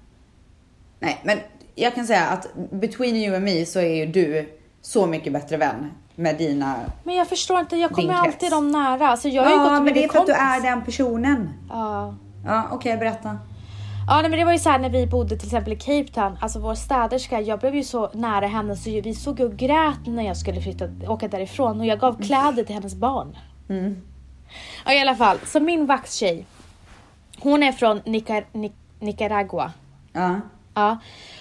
Speaker 1: Nej, men jag kan säga att between you and me så är ju du så mycket bättre vän med dina...
Speaker 2: Men jag förstår inte, jag kommer
Speaker 1: Din krets.
Speaker 2: alltid dem nära. Alltså jag har ju gått
Speaker 1: ja, men
Speaker 2: och
Speaker 1: det är
Speaker 2: blivit
Speaker 1: för att du
Speaker 2: kompis.
Speaker 1: är den personen.
Speaker 2: Ja.
Speaker 1: Ja, okej, berätta.
Speaker 2: Ja nej, men det var ju så här när vi bodde till exempel i Cape Town, alltså vår städerska, jag blev ju så nära henne så ju- vi såg ju och grät när jag skulle flytta, åka därifrån och jag gav kläder till hennes barn. Ja, I alla fall, så min vaxtjej, hon är från Nicar- Nic- Nicaragua.
Speaker 1: Ja.
Speaker 2: Ja.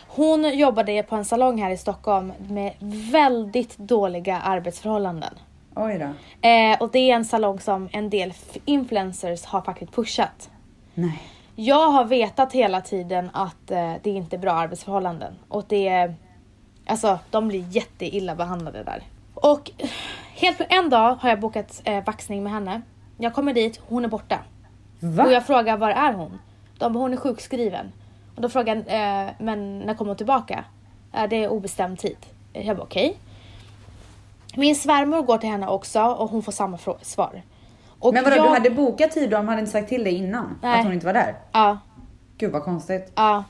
Speaker 2: Hon jobbade på en salong här i Stockholm med väldigt dåliga arbetsförhållanden.
Speaker 1: Oj då.
Speaker 2: Eh, och det är en salong som en del f- influencers har faktiskt pushat.
Speaker 1: Nej.
Speaker 2: Jag har vetat hela tiden att eh, det är inte är bra arbetsförhållanden och det är, alltså de blir jätteilla behandlade där. Och helt på en dag har jag bokat eh, vaxning med henne. Jag kommer dit, hon är borta.
Speaker 1: Va?
Speaker 2: Och jag frågar var är hon? De bara, hon är sjukskriven. Och då frågar jag, eh, men när kommer hon tillbaka? Eh, det är obestämd tid. Jag bara okej. Min svärmor går till henne också och hon får samma frå- svar. Och
Speaker 1: Men vadå,
Speaker 2: jag-
Speaker 1: du hade bokat tid och de hade inte sagt till dig innan?
Speaker 2: Nej.
Speaker 1: Att hon inte var där?
Speaker 2: Ja.
Speaker 1: Gud vad konstigt.
Speaker 2: Ja.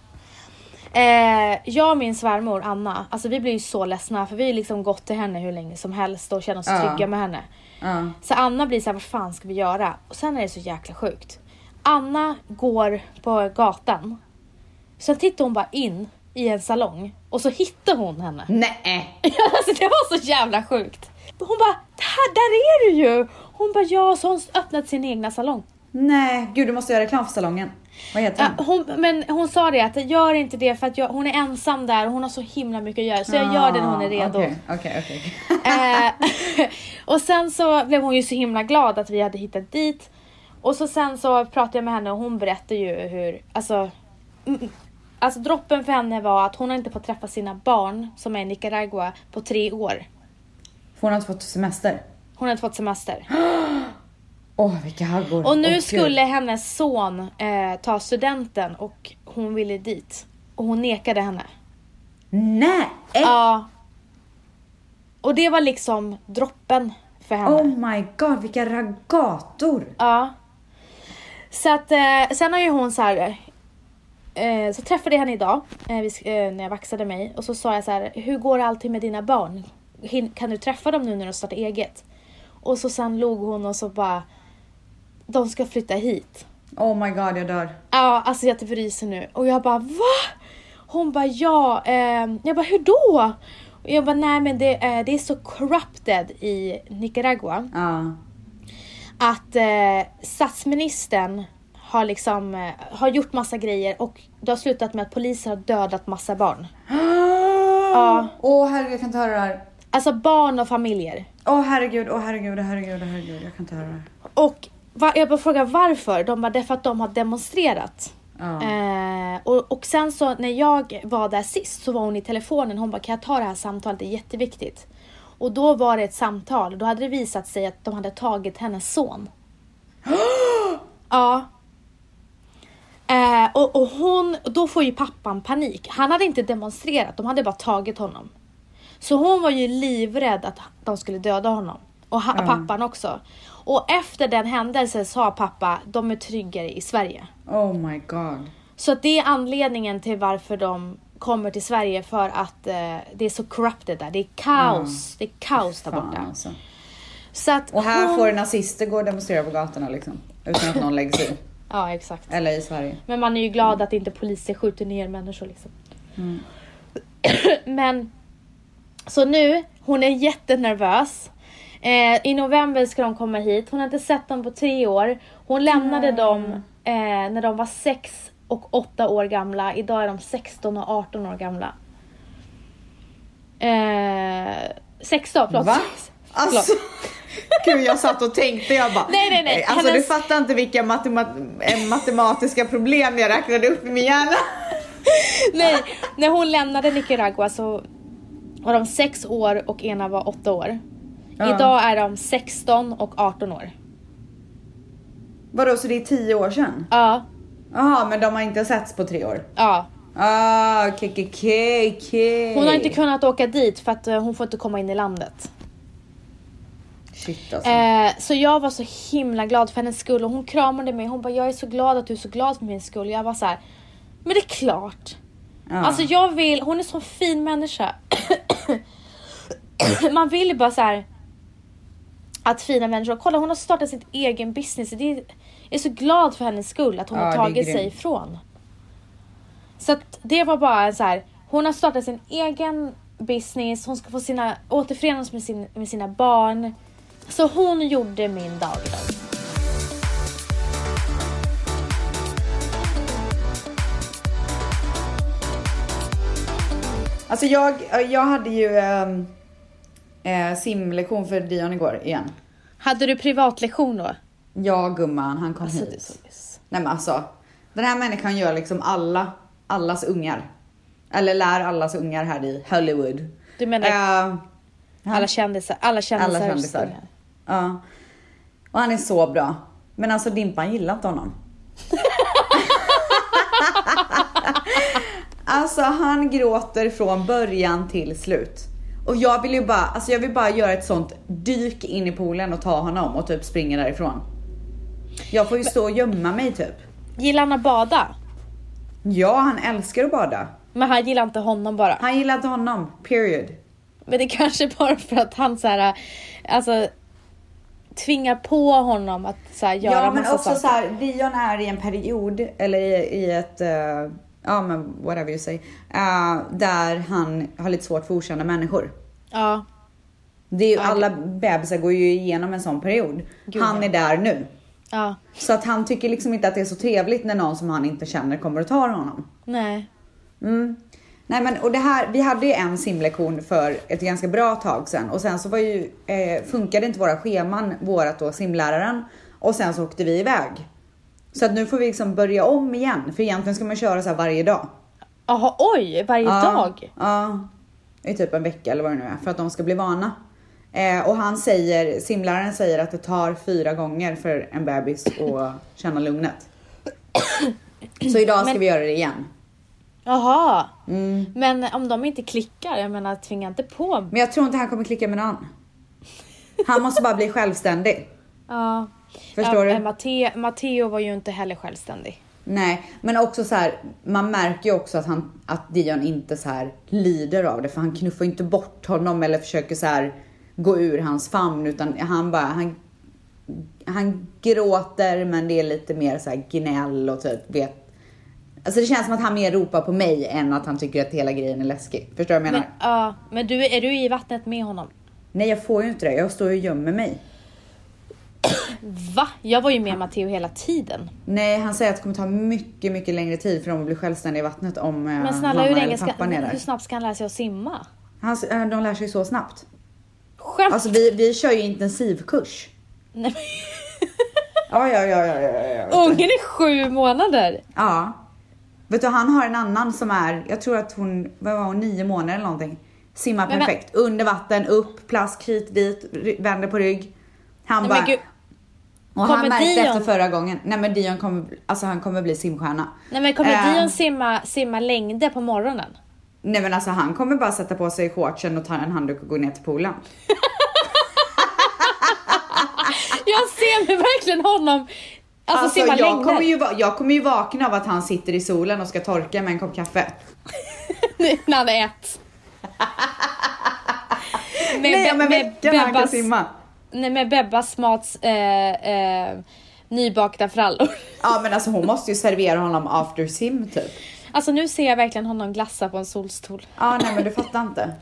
Speaker 2: Eh, jag och min svärmor Anna, alltså vi blir ju så ledsna för vi har liksom gått till henne hur länge som helst och känner oss
Speaker 1: Ja.
Speaker 2: trygga med henne.
Speaker 1: Ja.
Speaker 2: Så Anna blir så här, vad fan ska vi göra? Och sen är det så jäkla sjukt. Anna går på gatan. Sen tittar hon bara in i en salong och så hittar hon henne. <laughs>
Speaker 1: Nej.
Speaker 2: alltså det var så jävla sjukt. Hon bara, där, där är du ju! Hon bara, ja, så hon öppnat sin egna salong.
Speaker 1: Nej, gud du måste göra reklam för salongen. Vad heter den?
Speaker 2: Ja, hon, men hon sa det att gör inte det för att jag, hon är ensam där och hon har så himla mycket att göra så jag gör det när hon är redo.
Speaker 1: Ah, Okej, okej, okej.
Speaker 2: <laughs> Eh, och sen så blev hon ju så himla glad att vi hade hittat dit. Och så sen så pratade jag med henne och hon berättade ju hur, alltså, mm, alltså droppen för henne var att hon har inte fått träffa sina barn som är i Nicaragua på tre år.
Speaker 1: För hon har inte fått semester.
Speaker 2: Hon har inte fått semester.
Speaker 1: Åh, vilka halvor.
Speaker 2: Och
Speaker 1: Åh,
Speaker 2: nu
Speaker 1: gud.
Speaker 2: skulle hennes son eh, ta studenten och hon ville dit. Och hon nekade henne.
Speaker 1: Nej!
Speaker 2: Ja. Och det var liksom droppen för henne.
Speaker 1: Oh my god, vilka ragator!
Speaker 2: Ja. Så att eh, sen har ju hon så här. Eh, så träffade jag henne idag eh, vi, sk- eh, när jag vaxade mig och så sa jag så här, hur går allting med dina barn? Hin- kan du träffa dem nu när de startar eget? Och så sen log hon och så bara, de ska flytta hit.
Speaker 1: Oh my god, jag dör.
Speaker 2: Ja, alltså jag typ ryser nu. Och jag bara va? Hon bara ja. ehm." jag bara hur då? Och jag bara nej men det, eh, det är så corrupted i Nicaragua
Speaker 1: Ja.
Speaker 2: att eh, statsministern har liksom eh, har gjort massa grejer och det har slutat med att poliser har dödat massa barn.
Speaker 1: Ja. <gasps> Åh herregud, jag kan inte höra det här.
Speaker 2: Alltså barn och familjer.
Speaker 1: Åh herregud, åh herregud, åh herregud, åh herregud, jag kan inte höra det här.
Speaker 2: Och va, jag bara frågar varför. De bara, det är för att de har demonstrerat.
Speaker 1: Ja.
Speaker 2: Eh, och, och sen så när jag var där sist så var hon i telefonen. Hon bara, kan jag ta det här samtalet? Det är jätteviktigt. Och då var det ett samtal. Då hade det visat sig att de hade tagit hennes son. ja. Eh, och, och hon, då får ju pappan panik. Han hade inte demonstrerat, de hade bara tagit honom. Så hon var ju livrädd att de skulle döda honom. Och ha, pappan också. Och efter den händelsen sa pappa, de är tryggare i Sverige.
Speaker 1: Oh my god.
Speaker 2: Så att det är anledningen till varför de kommer till Sverige för att eh, det är så corrupted där. Det är kaos. Det är kaos där
Speaker 1: Mm. Fan
Speaker 2: borta.
Speaker 1: alltså.
Speaker 2: Så att
Speaker 1: Och här
Speaker 2: hon-
Speaker 1: får nazister gå och demonstrera på gatorna liksom. Utan att någon lägger sig i.
Speaker 2: Ja, exakt.
Speaker 1: Eller i Sverige.
Speaker 2: Men man är ju glad att inte poliser skjuter ner människor liksom. Men så nu, hon är jättenervös. Eh, I november ska de komma hit. Hon har inte sett dem på tre år. Hon lämnade dem eh, när de var sex och åtta år gamla. Idag är de 16 och 18 år gamla. Eh, 16, förlåt.
Speaker 1: Va? Alltså, <laughs> gud jag satt och tänkte jag bara.
Speaker 2: Nej, nej, nej.
Speaker 1: Alltså
Speaker 2: Hennes-
Speaker 1: du fattar inte vilka matemat- eh, matematiska problem jag räknade upp i min hjärna.
Speaker 2: <laughs> Nej, när hon lämnade Nicaragua så var de sex år och ena var åtta år.
Speaker 1: Ja.
Speaker 2: Idag är de 16 och 18 år.
Speaker 1: Vadå så det är tio år sedan?
Speaker 2: Ja,
Speaker 1: Jaha men de har inte setts på tre år?
Speaker 2: ja.
Speaker 1: Ah, KKK.
Speaker 2: Hon har inte kunnat åka dit för att eh, hon får inte komma in i landet.
Speaker 1: Shit alltså.
Speaker 2: Eh, så jag var så himla glad för hennes skull och hon kramade mig. Hon bara, jag är så glad att du är så glad för min skull. Jag var så här, men det är klart.
Speaker 1: Ja.
Speaker 2: Alltså jag vill, hon är så fin människa. <coughs> Man vill ju bara så här att fina människor, kolla hon har startat sitt egen business. Det är, jag är så glad för hennes skull att hon
Speaker 1: Ja,
Speaker 2: har
Speaker 1: det är
Speaker 2: tagit sig
Speaker 1: grymt.
Speaker 2: ifrån. Så att det var bara en så här, hon har startat sin egen business, hon ska få sina, återförenas med, sin, med sina barn. Så hon gjorde min dag idag.
Speaker 1: Alltså jag, jag hade ju ehm, eh, simlektion för Dion igår igen.
Speaker 2: Hade du privatlektion
Speaker 1: Mm.
Speaker 2: då?
Speaker 1: Ja gumman, han kom
Speaker 2: Alltså, det är
Speaker 1: hit.
Speaker 2: så gys.
Speaker 1: Nej men alltså. Den här människan gör liksom alla, allas ungar. Eller lär allas ungar här i Hollywood.
Speaker 2: Du menar
Speaker 1: Eh,
Speaker 2: alla kändisar? Alla kändisar.
Speaker 1: alla kändisar. Ja. Och han är så bra. Men alltså Dimpan gillar inte honom. alltså han gråter från början till slut. Och jag vill ju bara, alltså jag vill bara göra ett sånt dyk in i poolen och ta honom och typ springa därifrån. Jag får ju stå och gömma mig typ.
Speaker 2: Gillar han att bada?
Speaker 1: Ja, han älskar att bada.
Speaker 2: Men han gillar inte honom bara.
Speaker 1: Han gillar inte honom, period.
Speaker 2: Men det är kanske bara för att han så här, alltså tvingar på honom att så här, göra
Speaker 1: Ja men
Speaker 2: massa
Speaker 1: också
Speaker 2: saker.
Speaker 1: så här, Dion är i en period, eller i, i ett, eh, ja men whatever you say, eh, där han har lite svårt för okända människor.
Speaker 2: Ja,
Speaker 1: Det är ju,
Speaker 2: Ja,
Speaker 1: alla bebisar går ju igenom en sån period.
Speaker 2: Gud,
Speaker 1: han
Speaker 2: ja.
Speaker 1: är där nu.
Speaker 2: ja,
Speaker 1: Så att han tycker liksom inte att det är så trevligt när någon som han inte känner kommer och tar honom.
Speaker 2: nej.
Speaker 1: Mm. Nej men och det här, vi hade ju en simlektion för ett ganska bra tag sedan och sen så var ju, eh, funkade inte våra scheman, vårat då simläraren och sen så åkte vi iväg. Så att nu får vi liksom börja om igen för egentligen ska man köra så här varje dag.
Speaker 2: Jaha, oj, varje
Speaker 1: Ja,
Speaker 2: dag?
Speaker 1: Ja. I typ en vecka eller vad det nu är för att de ska bli vana. Eh, och han säger, simläraren säger att det tar fyra gånger för en bebis att känna lugnet. Så idag ska
Speaker 2: Men-
Speaker 1: vi göra det igen.
Speaker 2: Jaha.
Speaker 1: Mm.
Speaker 2: Men om de inte klickar, jag menar tvinga inte på.
Speaker 1: Men jag tror inte han kommer klicka med någon. Han måste bara bli självständig.
Speaker 2: Ja.
Speaker 1: Förstår
Speaker 2: ja,
Speaker 1: du?
Speaker 2: Matteo, Matteo var ju inte heller självständig.
Speaker 1: Nej, men också så här, man märker ju också att, han, att Dion inte så här lider av det för han knuffar ju inte bort honom eller försöker så här gå ur hans famn utan han bara, han, han gråter men det är lite mer så här gnäll och typ vet. Alltså det känns som att han mer ropar på mig än att han tycker att hela grejen är läskig. Förstår du vad jag
Speaker 2: Men,
Speaker 1: menar?
Speaker 2: ja, men du, är du i vattnet med honom?
Speaker 1: Nej jag får ju inte det, jag står ju och gömmer mig.
Speaker 2: Va? Jag var ju med Matteo hela tiden.
Speaker 1: Nej, han säger att det kommer ta mycket, mycket längre tid för dem att bli självständiga i vattnet om eh,
Speaker 2: Men snälla,
Speaker 1: mamma
Speaker 2: hur,
Speaker 1: eller
Speaker 2: länge ska,
Speaker 1: pappan är där.
Speaker 2: hur snabbt ska han lära sig att simma?
Speaker 1: Han, s- eh, de lär sig så snabbt.
Speaker 2: Skämt!
Speaker 1: Alltså vi, vi kör ju intensivkurs.
Speaker 2: Nej, men-
Speaker 1: <laughs> Ja, ja, ja, ja, ja, ja, ja.
Speaker 2: Ungen är sju månader!
Speaker 1: Ja. Vet du, han har en annan som är, jag tror att hon, vad var hon, nio månader eller någonting. Simmar
Speaker 2: Men vä-
Speaker 1: perfekt. Under vatten, upp, plask hit, dit, ry- vänder på rygg. Han
Speaker 2: Nej,
Speaker 1: bara,
Speaker 2: men gud.
Speaker 1: och han
Speaker 2: kommer
Speaker 1: märkte
Speaker 2: Dion-
Speaker 1: efter förra gången, nej men Dion kommer, alltså han kommer bli simstjärna.
Speaker 2: Nej men kommer
Speaker 1: Eh.
Speaker 2: Dion simma, simma längder på morgonen?
Speaker 1: Nej men alltså han kommer bara sätta på sig shortsen och ta en handduk och gå ner till poolen.
Speaker 2: Alltså, Jag ser mig verkligen honom alltså, simma
Speaker 1: Ah, jag,
Speaker 2: längder.
Speaker 1: kommer ju, va- jag kommer ju vakna av att han sitter i solen och ska torka med en kopp kaffe.
Speaker 2: <laughs> När han
Speaker 1: <laughs>
Speaker 2: är ett. Med,
Speaker 1: Nej
Speaker 2: Be-
Speaker 1: om en
Speaker 2: med
Speaker 1: vecka när han kan
Speaker 2: Bebbas-
Speaker 1: simma.
Speaker 2: Nej med Bebbas Mats eh, eh, nybakta frallor. <laughs>
Speaker 1: Ja men alltså hon måste ju servera honom after sim typ.
Speaker 2: Alltså nu ser jag verkligen honom glassa på en solstol.
Speaker 1: Ja, nej men du fattar inte.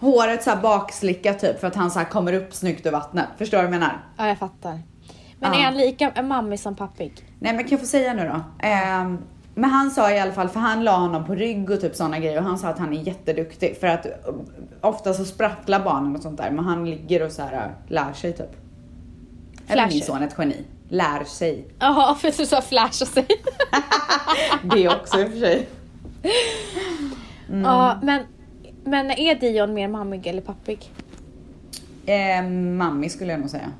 Speaker 1: Håret så här bakslickat typ för att han så här kommer upp snyggt ur vattnet. Förstår du vad jag menar?
Speaker 2: Ja jag fattar. Men
Speaker 1: Ja.
Speaker 2: är han lika en mammig som pappig?
Speaker 1: Nej men kan jag få säga nu då? Ehm, men han sa i alla fall, för han la honom på rygg och typ sådana grejer och han sa att han är jätteduktig för att eh, ofta så sprattlar barnen och sånt där men han ligger och så här eh, lär sig typ. Eller
Speaker 2: Lär
Speaker 1: min
Speaker 2: sig.
Speaker 1: son är ett geni. Lär sig.
Speaker 2: Jaha <laughs> för att du sa flasha sig.
Speaker 1: Det också i och för <laughs> sig.
Speaker 2: Ja men, men är Dion mer mammig eller pappig?
Speaker 1: Eh, mammi skulle jag nog säga.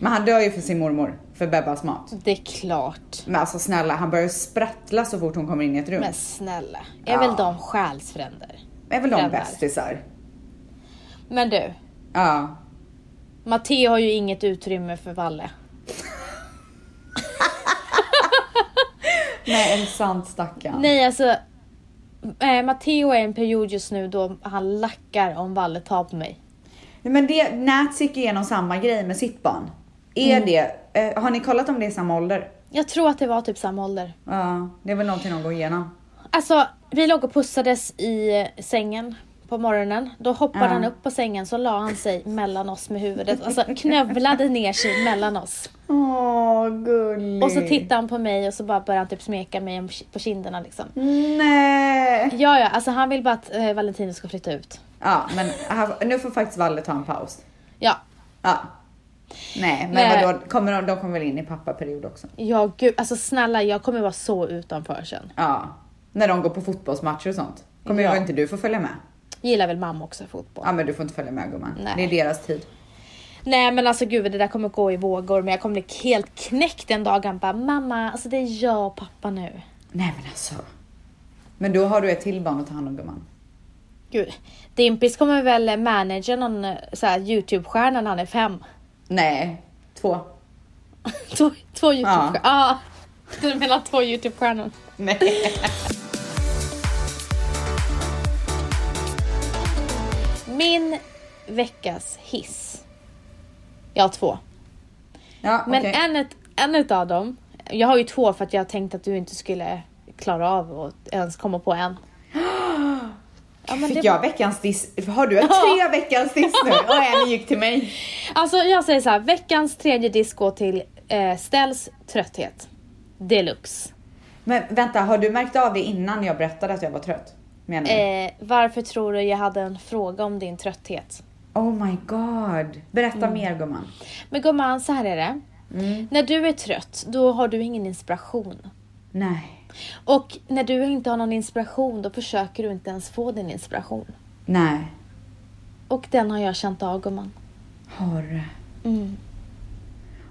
Speaker 1: Men han dör ju för sin mormor, för Bebbas mat.
Speaker 2: Det är klart.
Speaker 1: Men alltså snälla, han börjar sprattla så fort hon kommer in i ett rum.
Speaker 2: Men snälla, är
Speaker 1: Ja.
Speaker 2: väl de själsfränder?
Speaker 1: är väl de
Speaker 2: Föräldrar.
Speaker 1: bästisar?
Speaker 2: Men du,
Speaker 1: Ja.
Speaker 2: Matteo har ju inget utrymme för Valle.
Speaker 1: Nej, en sant stackarn.
Speaker 2: Nej alltså, eh, Matteo är i en period just nu då han lackar om Valle tar på mig.
Speaker 1: Nej, Men det, Nats gick igenom samma grej med sitt barn. Är det, eh, har ni kollat om det är samma ålder?
Speaker 2: Jag tror att det var typ samma ålder.
Speaker 1: Ja, det är väl någonting de går igenom.
Speaker 2: Alltså, vi låg och pussades i sängen på morgonen. Då hoppade
Speaker 1: Ja.
Speaker 2: han upp på sängen så la han sig mellan oss med huvudet. Alltså knövlade ner sig mellan oss.
Speaker 1: Åh, gullig.
Speaker 2: Och så tittade han på mig och så bara började han typ smeka mig om- på kinderna liksom.
Speaker 1: Nej.
Speaker 2: Ja, ja, alltså han vill bara att eh, Valentino ska flytta ut.
Speaker 1: Ja, men här, nu får faktiskt Valle ta en paus.
Speaker 2: Ja,
Speaker 1: Ja. Nej, men
Speaker 2: Nej.
Speaker 1: vadå, kommer de, de kommer väl in i pappaperiod också?
Speaker 2: ja gud, alltså snälla jag kommer vara så utanför sen.
Speaker 1: Ja. När de går på fotbollsmatcher och sånt. Kommer
Speaker 2: Ja.
Speaker 1: ju inte du få följa med?
Speaker 2: Gillar väl mamma också fotboll.
Speaker 1: Ja men du får inte följa med gumman.
Speaker 2: Nej.
Speaker 1: Det är deras tid.
Speaker 2: Nej men alltså gud det där kommer gå i vågor men jag kommer bli helt knäckt en dag. Han bara mamma, alltså det är jag och pappa nu.
Speaker 1: Nej men alltså. Men då har du ett till barn att ta hand om gumman.
Speaker 2: Gud, Dimpis kommer väl managera någon eh, så här, Youtube-stjärna när han är fem.
Speaker 1: Nej, två.
Speaker 2: två två Youtube-stjärnor. Ja. Du menar två Youtube-stjärnor.
Speaker 1: Nej.
Speaker 2: Min veckas hiss. Jag har två.
Speaker 1: Ja,
Speaker 2: Men
Speaker 1: okej.
Speaker 2: en, ett, en utav dem, jag har ju två för att jag tänkte att du inte skulle klara av att ens komma på
Speaker 1: <gasps>
Speaker 2: en. Ja, men
Speaker 1: Fick
Speaker 2: det,
Speaker 1: jag veckans diss? Har du tre veckans diss <laughs> nu? Och en gick till mig.
Speaker 2: alltså jag säger så här, veckans tredje disk går till eh, Ställs trötthet. Deluxe.
Speaker 1: Men vänta, har du märkt av det innan jag berättade att jag var trött? Menar du?
Speaker 2: Eh, varför tror du jag hade en fråga om din trötthet?
Speaker 1: Oh my god. Berätta mer gumman.
Speaker 2: Men gumman, så här är det.
Speaker 1: Mm.
Speaker 2: När du är trött, då har du ingen inspiration.
Speaker 1: Nej.
Speaker 2: Och när du inte har någon inspiration, då försöker du inte ens få din inspiration.
Speaker 1: Nej.
Speaker 2: Och den har jag känt av gumman.
Speaker 1: Har.
Speaker 2: Mm.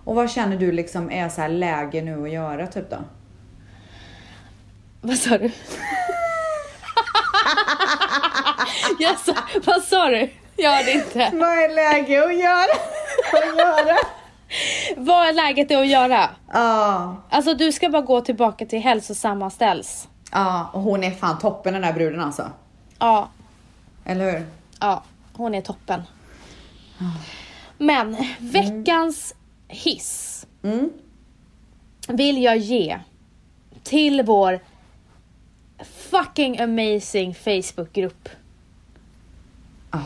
Speaker 1: Och vad känner du liksom är så här läge nu att göra typ då?
Speaker 2: Vad sa du? <laughs> jag sa, vad sa du? Jag hörde inte.
Speaker 1: Vad är läge att göra? <laughs> Att göra?
Speaker 2: Vad är läget att göra?
Speaker 1: Ja.
Speaker 2: Alltså du ska bara gå tillbaka till hälsosamma ställs.
Speaker 1: Ja, och hon är fan toppen den där bruden alltså.
Speaker 2: Ja,
Speaker 1: Eller hur?
Speaker 2: ja, hon är toppen. Men veckans hiss
Speaker 1: Mm.
Speaker 2: vill jag ge till vår fucking amazing Facebookgrupp.
Speaker 1: Ah.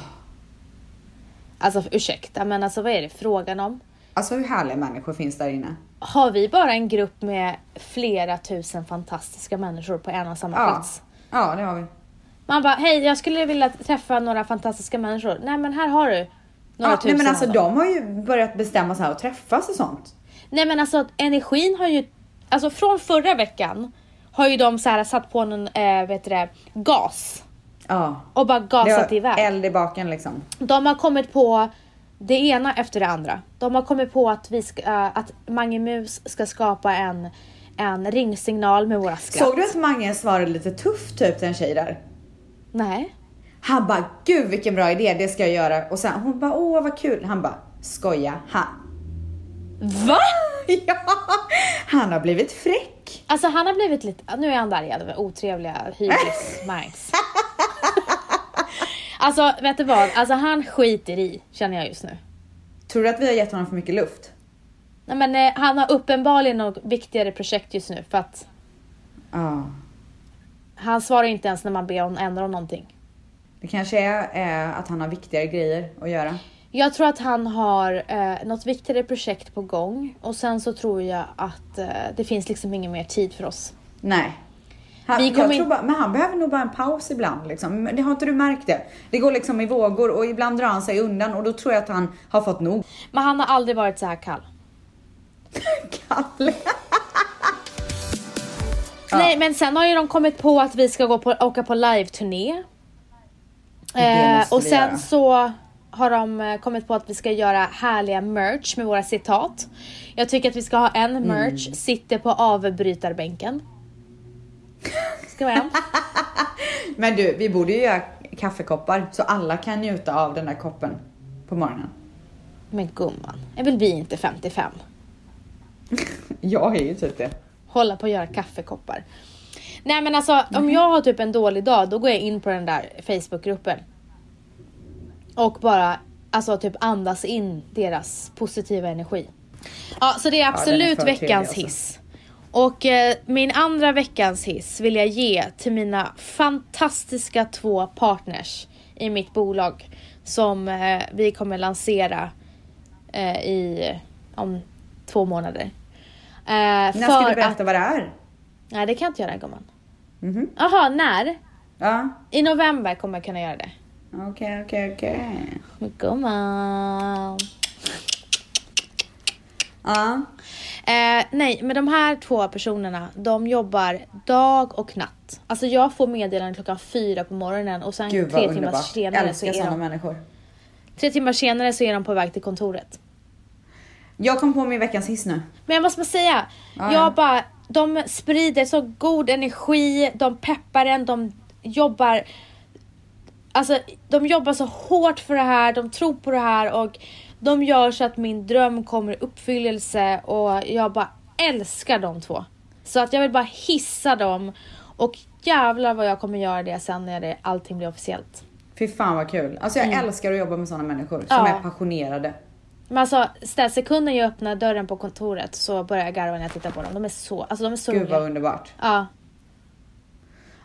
Speaker 2: Alltså ursäkta, men alltså vad är det frågan om?
Speaker 1: Alltså hur härliga människor finns där inne?
Speaker 2: Har vi bara en grupp med flera tusen fantastiska människor på en och samma
Speaker 1: Ja,
Speaker 2: plats?
Speaker 1: ja det har vi.
Speaker 2: Man bara, hej jag skulle vilja träffa några fantastiska människor. Nej men här har du några
Speaker 1: Ja,
Speaker 2: tusen
Speaker 1: nej men alltså
Speaker 2: av dem.
Speaker 1: de har ju börjat bestämma sig här och träffas och sånt.
Speaker 2: Nej men alltså energin har ju, alltså från förra veckan har ju de så här satt på någon, eh, vet du det, gas.
Speaker 1: Ja.
Speaker 2: Och bara
Speaker 1: Det
Speaker 2: gasat
Speaker 1: var
Speaker 2: iväg.
Speaker 1: eld i baken liksom.
Speaker 2: De har kommit på det ena efter det andra. De har kommit på att, vi ska, eh, att Mange Mus ska skapa en, en ringsignal med våra skratt.
Speaker 1: Såg du att Mange svarade lite tufft typ till en tjej där?
Speaker 2: Nej.
Speaker 1: Han bara, gud vilken bra idé, det ska jag göra. Och sen hon bara, åh vad kul. Han bara, skoja, ha.
Speaker 2: Va?
Speaker 1: <laughs> Ja, han har blivit fräck.
Speaker 2: Alltså han har blivit lite, nu är han där igen, med otrevliga hybris-mags. alltså vet du vad, alltså han skiter i känner jag just nu.
Speaker 1: Tror du att vi har gett honom för mycket luft?
Speaker 2: Nej men eh, han har uppenbarligen något viktigare projekt just nu för att
Speaker 1: Ja.
Speaker 2: han svarar inte ens när man ber honom ändra om någonting.
Speaker 1: Det kanske är eh, att han har viktigare grejer att göra.
Speaker 2: Jag tror att han har eh, något viktigare projekt på gång och sen så tror jag att eh, det finns liksom ingen mer tid för oss.
Speaker 1: Nej. Han,
Speaker 2: Vi
Speaker 1: jag
Speaker 2: kommer
Speaker 1: tror
Speaker 2: in-
Speaker 1: bara, men han behöver nog bara en paus ibland. Liksom. Men Det har inte du märkt det? Det går liksom i vågor och ibland drar han sig undan och då tror jag att han har fått nog. <laughs>
Speaker 2: Men han har aldrig varit så här kall.
Speaker 1: Kalle. Ja.
Speaker 2: Nej men sen har ju de kommit på att vi ska gå på, åka på live-turné. Eh,
Speaker 1: Det måste
Speaker 2: och
Speaker 1: vi
Speaker 2: sen
Speaker 1: göra.
Speaker 2: så har de eh, kommit på att vi ska göra härliga merch med våra citat. Jag tycker att vi ska ha
Speaker 1: Mm.
Speaker 2: en merch, sitter på avbrytarbänken.
Speaker 1: <laughs>
Speaker 2: Ska vara en.
Speaker 1: Men du, vi borde ju göra kaffekoppar så alla kan njuta av den där koppen på morgonen.
Speaker 2: Men gumman, är väl vi inte 55?
Speaker 1: Jag är ju typ det.
Speaker 2: hålla på att göra kaffekoppar. Nej men alltså om
Speaker 1: Mm-hmm.
Speaker 2: jag har typ en dålig dag då går jag in på den där Facebookgruppen. Och bara alltså typ andas in deras positiva energi. Ja så det är
Speaker 1: den är
Speaker 2: absolut
Speaker 1: för trevlig,
Speaker 2: veckans
Speaker 1: alltså.
Speaker 2: hiss. Och eh, min andra veckans hiss vill jag ge till mina fantastiska två partners i mitt bolag. Som eh, vi kommer lansera eh, i om två månader. Eh,
Speaker 1: När ska
Speaker 2: för
Speaker 1: du
Speaker 2: att-
Speaker 1: berätta vad det är?
Speaker 2: Nej det kan jag inte göra gumman.
Speaker 1: Mhm.
Speaker 2: Jaha, när?
Speaker 1: Ja,
Speaker 2: I november kommer jag kunna göra det.
Speaker 1: okej, okej, okej.
Speaker 2: Men gumman.
Speaker 1: Ja,
Speaker 2: Eh, nej, men de här två personerna, de jobbar dag och natt. Alltså jag får meddelanden klockan fyra på morgonen och sen
Speaker 1: gud vad
Speaker 2: tre, timmar
Speaker 1: underbart.
Speaker 2: senare så
Speaker 1: Älskar
Speaker 2: är
Speaker 1: sådana
Speaker 2: de,
Speaker 1: människor.
Speaker 2: tre timmar senare så är de på väg till kontoret.
Speaker 1: Jag kom på min veckans hiss nu.
Speaker 2: Men jag måste bara säga,
Speaker 1: Ja, ja.
Speaker 2: jag bara, de sprider så god energi, de peppar en, de jobbar Alltså de jobbar så hårt för det här, de tror på det här och de gör så att min dröm kommer i uppfyllelse och jag bara älskar de två. Så att jag vill bara hissa dem och jävlar vad jag kommer göra det sen när det, allting blir officiellt.
Speaker 1: Fy fan vad kul. Alltså jag älskar att jobba med sådana människor som
Speaker 2: Mm. Ja.
Speaker 1: är passionerade.
Speaker 2: Men alltså sekunden jag öppnar dörren på kontoret så börjar jag garva när jag tittar på dem. De är så, alltså de är så
Speaker 1: Gud vad
Speaker 2: roliga.
Speaker 1: underbart.
Speaker 2: Ja.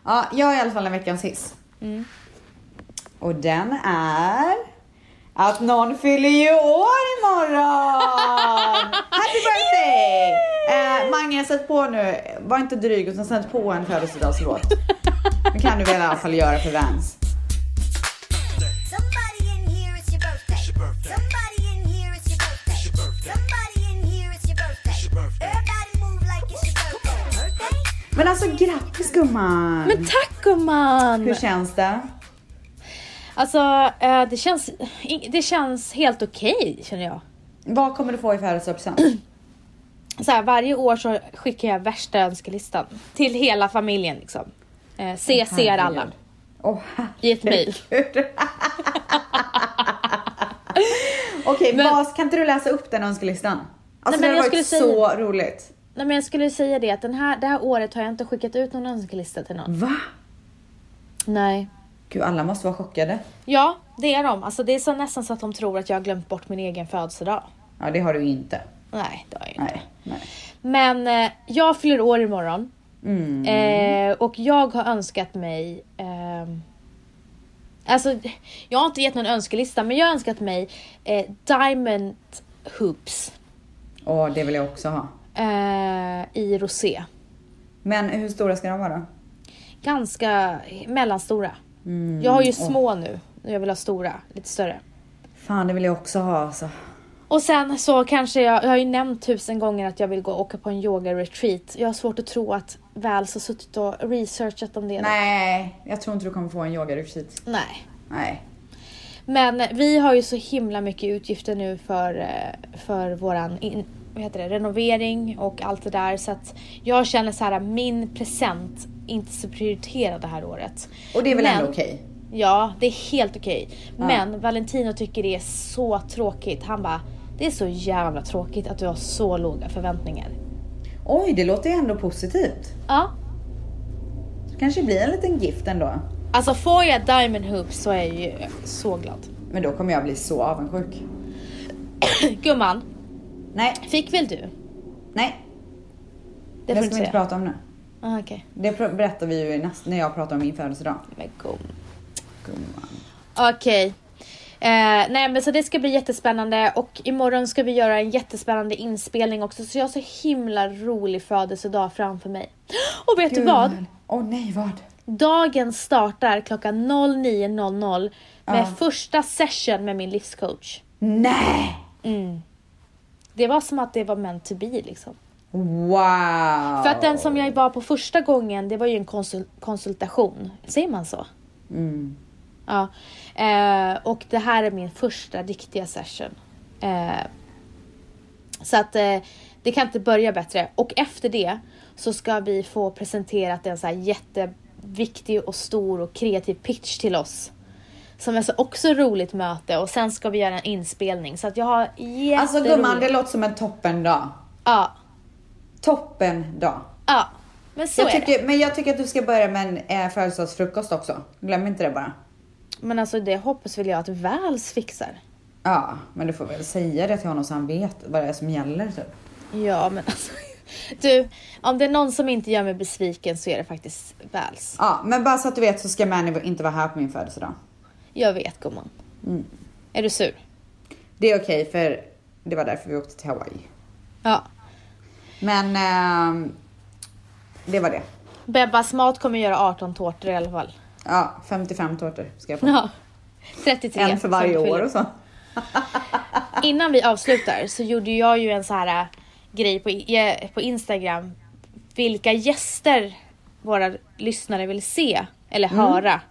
Speaker 1: Ja, jag har i alla fall en veckans hiss.
Speaker 2: Mm.
Speaker 1: Och den är att någon fyller ju år <laughs> imorgon! Happy birthday! Eh, Mange, sätt på nu, var inte dryg utan sätt på en födelsedagslåt. Det kan du väl i alla fall göra för Vans.
Speaker 3: Somebody in here it's your birthday.
Speaker 4: It's your birthday.
Speaker 3: Somebody in here it's your birthday.
Speaker 4: It's your birthday.
Speaker 3: Somebody in here it's your birthday.
Speaker 4: It's your birthday.
Speaker 3: Everybody move like it's your birthday. Birthday?
Speaker 1: Men alltså grattis gumman!
Speaker 2: Men tack gumman!
Speaker 1: Hur känns det?
Speaker 2: Alltså eh, det, känns, i- det känns helt okej känner jag.
Speaker 1: Vad kommer du få i
Speaker 2: <clears throat>
Speaker 1: födelsedagspresent?
Speaker 2: Så här, varje år så skickar jag värsta önskelistan till hela familjen liksom. Eh, CC'ar alla
Speaker 1: Åh
Speaker 2: i ett mejl.
Speaker 1: herregud. Okej,
Speaker 2: Men-
Speaker 1: Bas, kan inte du läsa upp den önskelistan? Alltså
Speaker 2: men
Speaker 1: det
Speaker 2: jag
Speaker 1: hade varit
Speaker 2: skulle
Speaker 1: så roligt.
Speaker 2: Nej men jag skulle säga det att den här, det här året har jag inte skickat ut någon önskelista till någon.
Speaker 1: Va?
Speaker 2: Nej.
Speaker 1: Gud, alla måste vara chockade.
Speaker 2: Ja, det är de. Alltså det är så nästan så att de tror att jag har glömt bort min egen födelsedag.
Speaker 1: Ja, det har du inte.
Speaker 2: Nej, det har jag inte.
Speaker 1: Nej, nej.
Speaker 2: Men eh, jag fyller år imorgon.
Speaker 1: Mm.
Speaker 2: Eh, och jag har önskat mig ehm, Alltså, jag har inte gett någon önskelista, men jag har önskat mig eh, Diamond Hoops
Speaker 1: Och det vill jag också ha.
Speaker 2: eh, i rosé.
Speaker 1: Men hur stora ska de vara då?
Speaker 2: Ganska mellanstora.
Speaker 1: Mm.
Speaker 2: Jag har ju små nu. Jag vill ha stora, lite större.
Speaker 1: Fan, det vill jag också ha alltså.
Speaker 2: Och sen så kanske jag, jag har ju nämnt tusen gånger att jag vill gå och åka på en yoga retreat. Jag har svårt att tro att Vals har suttit och researchat om det.
Speaker 1: Nej, jag tror inte du kommer få en yogaretreat.
Speaker 2: Nej.
Speaker 1: Nej.
Speaker 2: Men vi har ju så himla mycket utgifter nu för, eh, för våran in, vad heter det, renovering och allt det där. Så att jag känner så här, min present är inte så prioriterad det här året.
Speaker 1: Och det är väl
Speaker 2: Men-
Speaker 1: ändå okej?
Speaker 2: Ja, det är helt okej. Men Valentino tycker det är så tråkigt. Han bara, det är så jävla tråkigt att du har så låga förväntningar.
Speaker 1: Oj, det låter ju ändå positivt.
Speaker 2: Ja.
Speaker 1: Det kanske blir en liten gift ändå.
Speaker 2: Alltså får jag Diamond Hoops så är jag ju så glad. <clears throat>
Speaker 1: Men då kommer jag bli så avundsjuk.
Speaker 2: Gumman,
Speaker 1: Nej,
Speaker 2: fick väl du?
Speaker 1: nej.
Speaker 2: Det
Speaker 1: Det,
Speaker 2: får du
Speaker 1: ska vi inte
Speaker 2: inte säga.
Speaker 1: prata om nu.
Speaker 2: Ah, okej.
Speaker 1: Det pr- berättar vi ju i näst, när jag pratar om min födelsedag.
Speaker 2: Men gumman.
Speaker 1: Gumman.
Speaker 2: Okej. Eh, nej men så det ska bli jättespännande och imorgon ska vi göra en jättespännande inspelning också så jag har så himla rolig födelsedag framför mig. <gasps> Och vet du vad?
Speaker 1: Åh nej, vad?
Speaker 2: Dagen startar klockan 09.00 med första session med min livscoach.
Speaker 1: Nej!
Speaker 2: Det var som att det var meant to be liksom.
Speaker 1: Wow!
Speaker 2: För att den som jag var på första gången, det var ju en konsul- konsultation. Säger man så?
Speaker 1: Mm.
Speaker 2: Ja. Eh, och det här är min första riktiga session. Eh, så att eh, det kan inte börja bättre. Och efter det så ska vi få presenterat en så här jätteviktig och stor och kreativ pitch till oss. Som är så också roligt möte och sen ska vi göra en inspelning. Så att jag har jätteroligt.
Speaker 1: Alltså gumman, det låter som en toppen dag.
Speaker 2: Ja.
Speaker 1: Toppen dag.
Speaker 2: Ja. Men så
Speaker 1: Jag
Speaker 2: är det.
Speaker 1: tycker, men jag tycker att du ska börja med en eh, födelsedagsfrukost också. Glöm inte det bara.
Speaker 2: Men alltså det hoppas väl jag att Vals fixar.
Speaker 1: Ja, men du får väl säga det till honom så han vet vad det är som gäller typ.
Speaker 2: Ja, men alltså. <laughs> Du, om det är någon som inte gör mig besviken så är det faktiskt Vals.
Speaker 1: Ja, men bara så att du vet så ska Manny inte vara här på min födelsedag.
Speaker 2: Jag vet gumman.
Speaker 1: Mm.
Speaker 2: Är du sur?
Speaker 1: Det är okej för det var därför vi åkte till Hawaii.
Speaker 2: Ja.
Speaker 1: Men ehm, det var det.
Speaker 2: Bebbas mat kommer göra 18 tårtor i alla fall.
Speaker 1: Ja, 55 tårtor ska jag få.
Speaker 2: <laughs> Ja. 33.
Speaker 1: en för varje
Speaker 2: som du
Speaker 1: år
Speaker 2: fyller.
Speaker 1: och så.
Speaker 2: Innan vi avslutar så gjorde jag ju en så här äh, grej på, i- eh, på Instagram. Vilka gäster våra lyssnare vill se eller höra.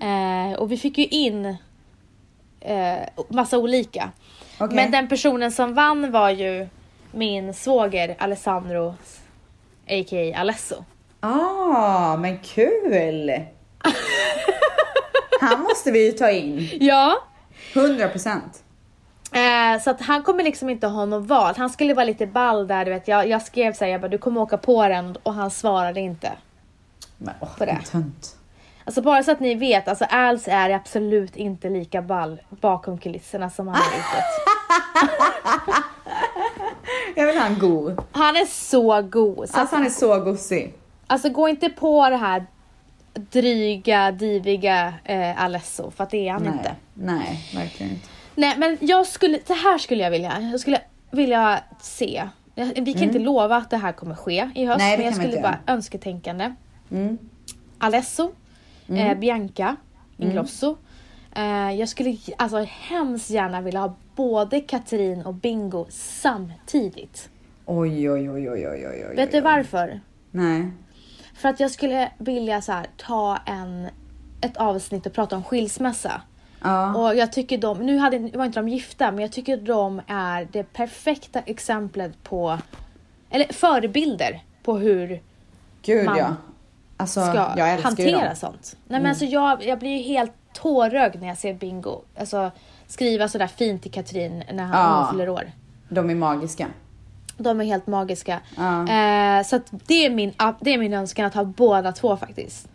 Speaker 2: Eh, och vi fick ju in eh, massa olika.
Speaker 1: Okej.
Speaker 2: Men den personen som vann var ju min svåger Alessandro a.k.a. Alesso.
Speaker 1: Ah, men kul! Han måste vi ju ta in.
Speaker 2: Ja.
Speaker 1: 100 procent.
Speaker 2: Eh, så att han kommer liksom inte ha något val. Han skulle vara lite ball där du vet. Jag, jag skrev såhär, jag bara du kommer åka på den och han svarade inte.
Speaker 1: Men åh,
Speaker 2: det.
Speaker 1: vad tönt.
Speaker 2: Alltså bara så att ni vet, alltså Als är absolut inte lika ball bakom kulisserna som han är utåt.
Speaker 1: Jag vill ha en god.
Speaker 2: <laughs> Han är så god. Så
Speaker 1: Alltså han är så gosig.
Speaker 2: Alltså gå inte på det här dryga, diviga eh, Alesso för att det är han inte.
Speaker 1: Nej, nej, verkligen inte.
Speaker 2: Nej men jag skulle, det här skulle jag vilja, jag skulle vilja se. Jag- Vi kan inte lova att det här kommer ske i höst
Speaker 1: Mm. Nej, det
Speaker 2: men
Speaker 1: kan vi
Speaker 2: jag skulle
Speaker 1: inte Mm.
Speaker 2: bara önsketänkande. Alesso, eh, Bianca
Speaker 1: Mm.
Speaker 2: Ingrosso. Eh, jag skulle alltså hemskt gärna vilja ha både Katrin och Bingo samtidigt.
Speaker 1: Oj, oj, oj, oj, oj, oj, oj.
Speaker 2: Vet du
Speaker 1: oj.
Speaker 2: varför?
Speaker 1: Nej.
Speaker 2: För att jag skulle vilja så här, ta en, ett avsnitt och prata om skilsmässa.
Speaker 1: Ja.
Speaker 2: Och jag tycker de, nu hade, var inte de gifta, men jag tycker de är det perfekta exemplet på, eller förebilder på hur
Speaker 1: Gud
Speaker 2: man
Speaker 1: ja. Alltså,
Speaker 2: ska
Speaker 1: jag älskar ju
Speaker 2: hantera
Speaker 1: dem. Mm.
Speaker 2: sånt. Nej men alltså jag, jag blir ju helt tårögd när jag ser Bingo alltså, skriva sådär fint till Katrin när han
Speaker 1: Ja.
Speaker 2: när hon fyller år.
Speaker 1: De är magiska.
Speaker 2: De är helt magiska.
Speaker 1: Ja.
Speaker 2: Eh, så att det, är min, ah, det är min önskan att ha båda två faktiskt.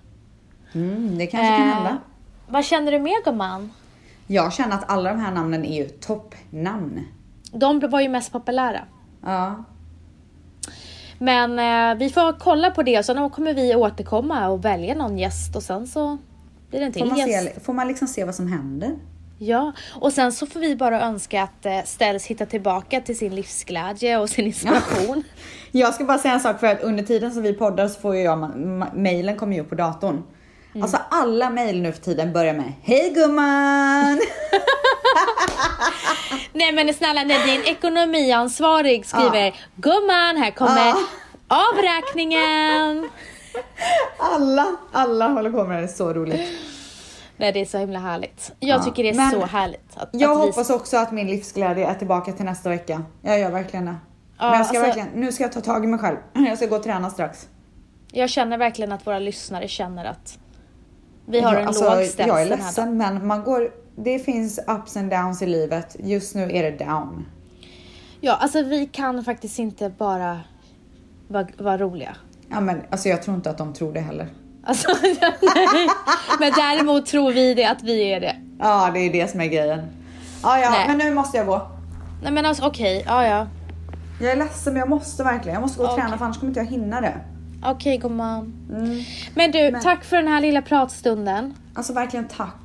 Speaker 1: Mm, det kanske kan
Speaker 2: Eh,
Speaker 1: hända.
Speaker 2: Vad känner du mer gumman?
Speaker 1: Jag känner att alla de här namnen är ju toppnamn.
Speaker 2: De var ju mest populära.
Speaker 1: Ja.
Speaker 2: Men eh, vi får kolla på det och sen kommer vi återkomma och välja någon gäst och sen så Blir det inte
Speaker 1: Får man,
Speaker 2: helt
Speaker 1: se, får man liksom se vad som händer?
Speaker 2: Ja, och sen så får vi bara önska att eh, Ställs hittar tillbaka till sin livsglädje och sin inspiration.
Speaker 1: Jag ska bara säga en sak för att under tiden som vi poddar så får ju jag, ma- ma- mailen kommer ju upp på datorn.
Speaker 2: Mm.
Speaker 1: Alltså alla mail nu för tiden börjar med Hej
Speaker 2: <laughs>
Speaker 1: gumman!
Speaker 2: <laughs> Nej men snälla när din ekonomiansvarig skriver Gumman, här kommer
Speaker 1: Ja.
Speaker 2: avräkningen!
Speaker 1: alla, alla håller på med det, det är så roligt.
Speaker 2: Nej det är så himla härligt. Jag
Speaker 1: Ja,
Speaker 2: tycker det är
Speaker 1: men
Speaker 2: så härligt. Att,
Speaker 1: Jag
Speaker 2: att vi-
Speaker 1: hoppas också att min livsglädje är tillbaka till nästa vecka. Jag gör verkligen det.
Speaker 2: Ja,
Speaker 1: Men jag ska
Speaker 2: alltså-
Speaker 1: verkligen, nu ska jag ta tag i mig själv. <clears throat> Jag ska gå och träna strax.
Speaker 2: Jag känner verkligen att våra lyssnare känner att vi har
Speaker 1: jag,
Speaker 2: en
Speaker 1: alltså,
Speaker 2: låg ställs
Speaker 1: Jag är
Speaker 2: den här dagen.
Speaker 1: ledsen men man går, det finns ups and downs i livet. Just nu är det down.
Speaker 2: Ja, alltså vi kan faktiskt inte bara vara vara roliga.
Speaker 1: Ja men alltså jag tror inte att de tror det heller.
Speaker 2: Alltså, <laughs> nej. Men däremot tror vi det att vi är det.
Speaker 1: Ja, det är det som är grejen. Ja, ja,
Speaker 2: Nej.
Speaker 1: men nu måste jag gå.
Speaker 2: Nej men alltså okej, ja ja.
Speaker 1: Jag är ledsen men jag måste verkligen. Jag måste gå och
Speaker 2: Okej.
Speaker 1: träna för annars kommer inte jag hinna det. Mm.
Speaker 2: Okej gumman. Men du, tack för den här lilla pratstunden.
Speaker 1: Alltså verkligen tack.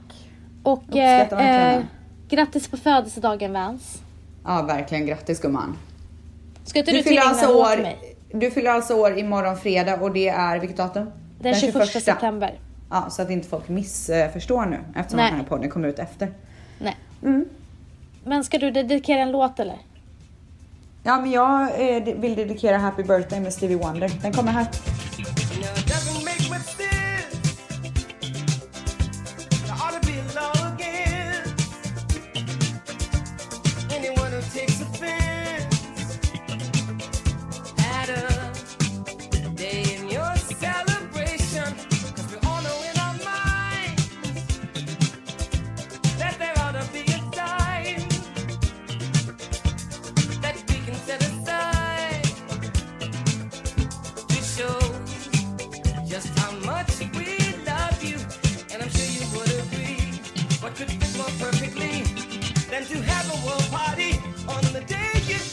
Speaker 2: Och eh,
Speaker 1: Uppskattar verkligen
Speaker 2: eh, grattis på födelsedagen Vans.
Speaker 1: Ja, verkligen grattis gumman.
Speaker 2: Ska inte
Speaker 1: Du,
Speaker 2: du,
Speaker 1: fyller
Speaker 2: tillringa
Speaker 1: alltså
Speaker 2: alltså åt
Speaker 1: år,
Speaker 2: mig?
Speaker 1: du fyller alltså år imorgon fredag och det är vilket datum?
Speaker 2: Den, 21, september.
Speaker 1: Ja, så att inte folk missförstår nu eftersom
Speaker 2: Nej.
Speaker 1: den här podden kommer ut efter.
Speaker 2: Nej.
Speaker 1: Mm.
Speaker 2: Men ska du dedikera en låt eller?
Speaker 1: Ja, men jag eh, vill dedikera Happy Birthday med Stevie Wonder. Den kommer här.
Speaker 4: Now it doesn't make much sense. I ought to be in love again. Anyone who takes offense at a day in your celebration, 'cause we all know in our minds that there ought to be a time that we can set aside to show just how much we love you, and I'm sure you would agree. What could fit more perfectly than to have a world party on the day you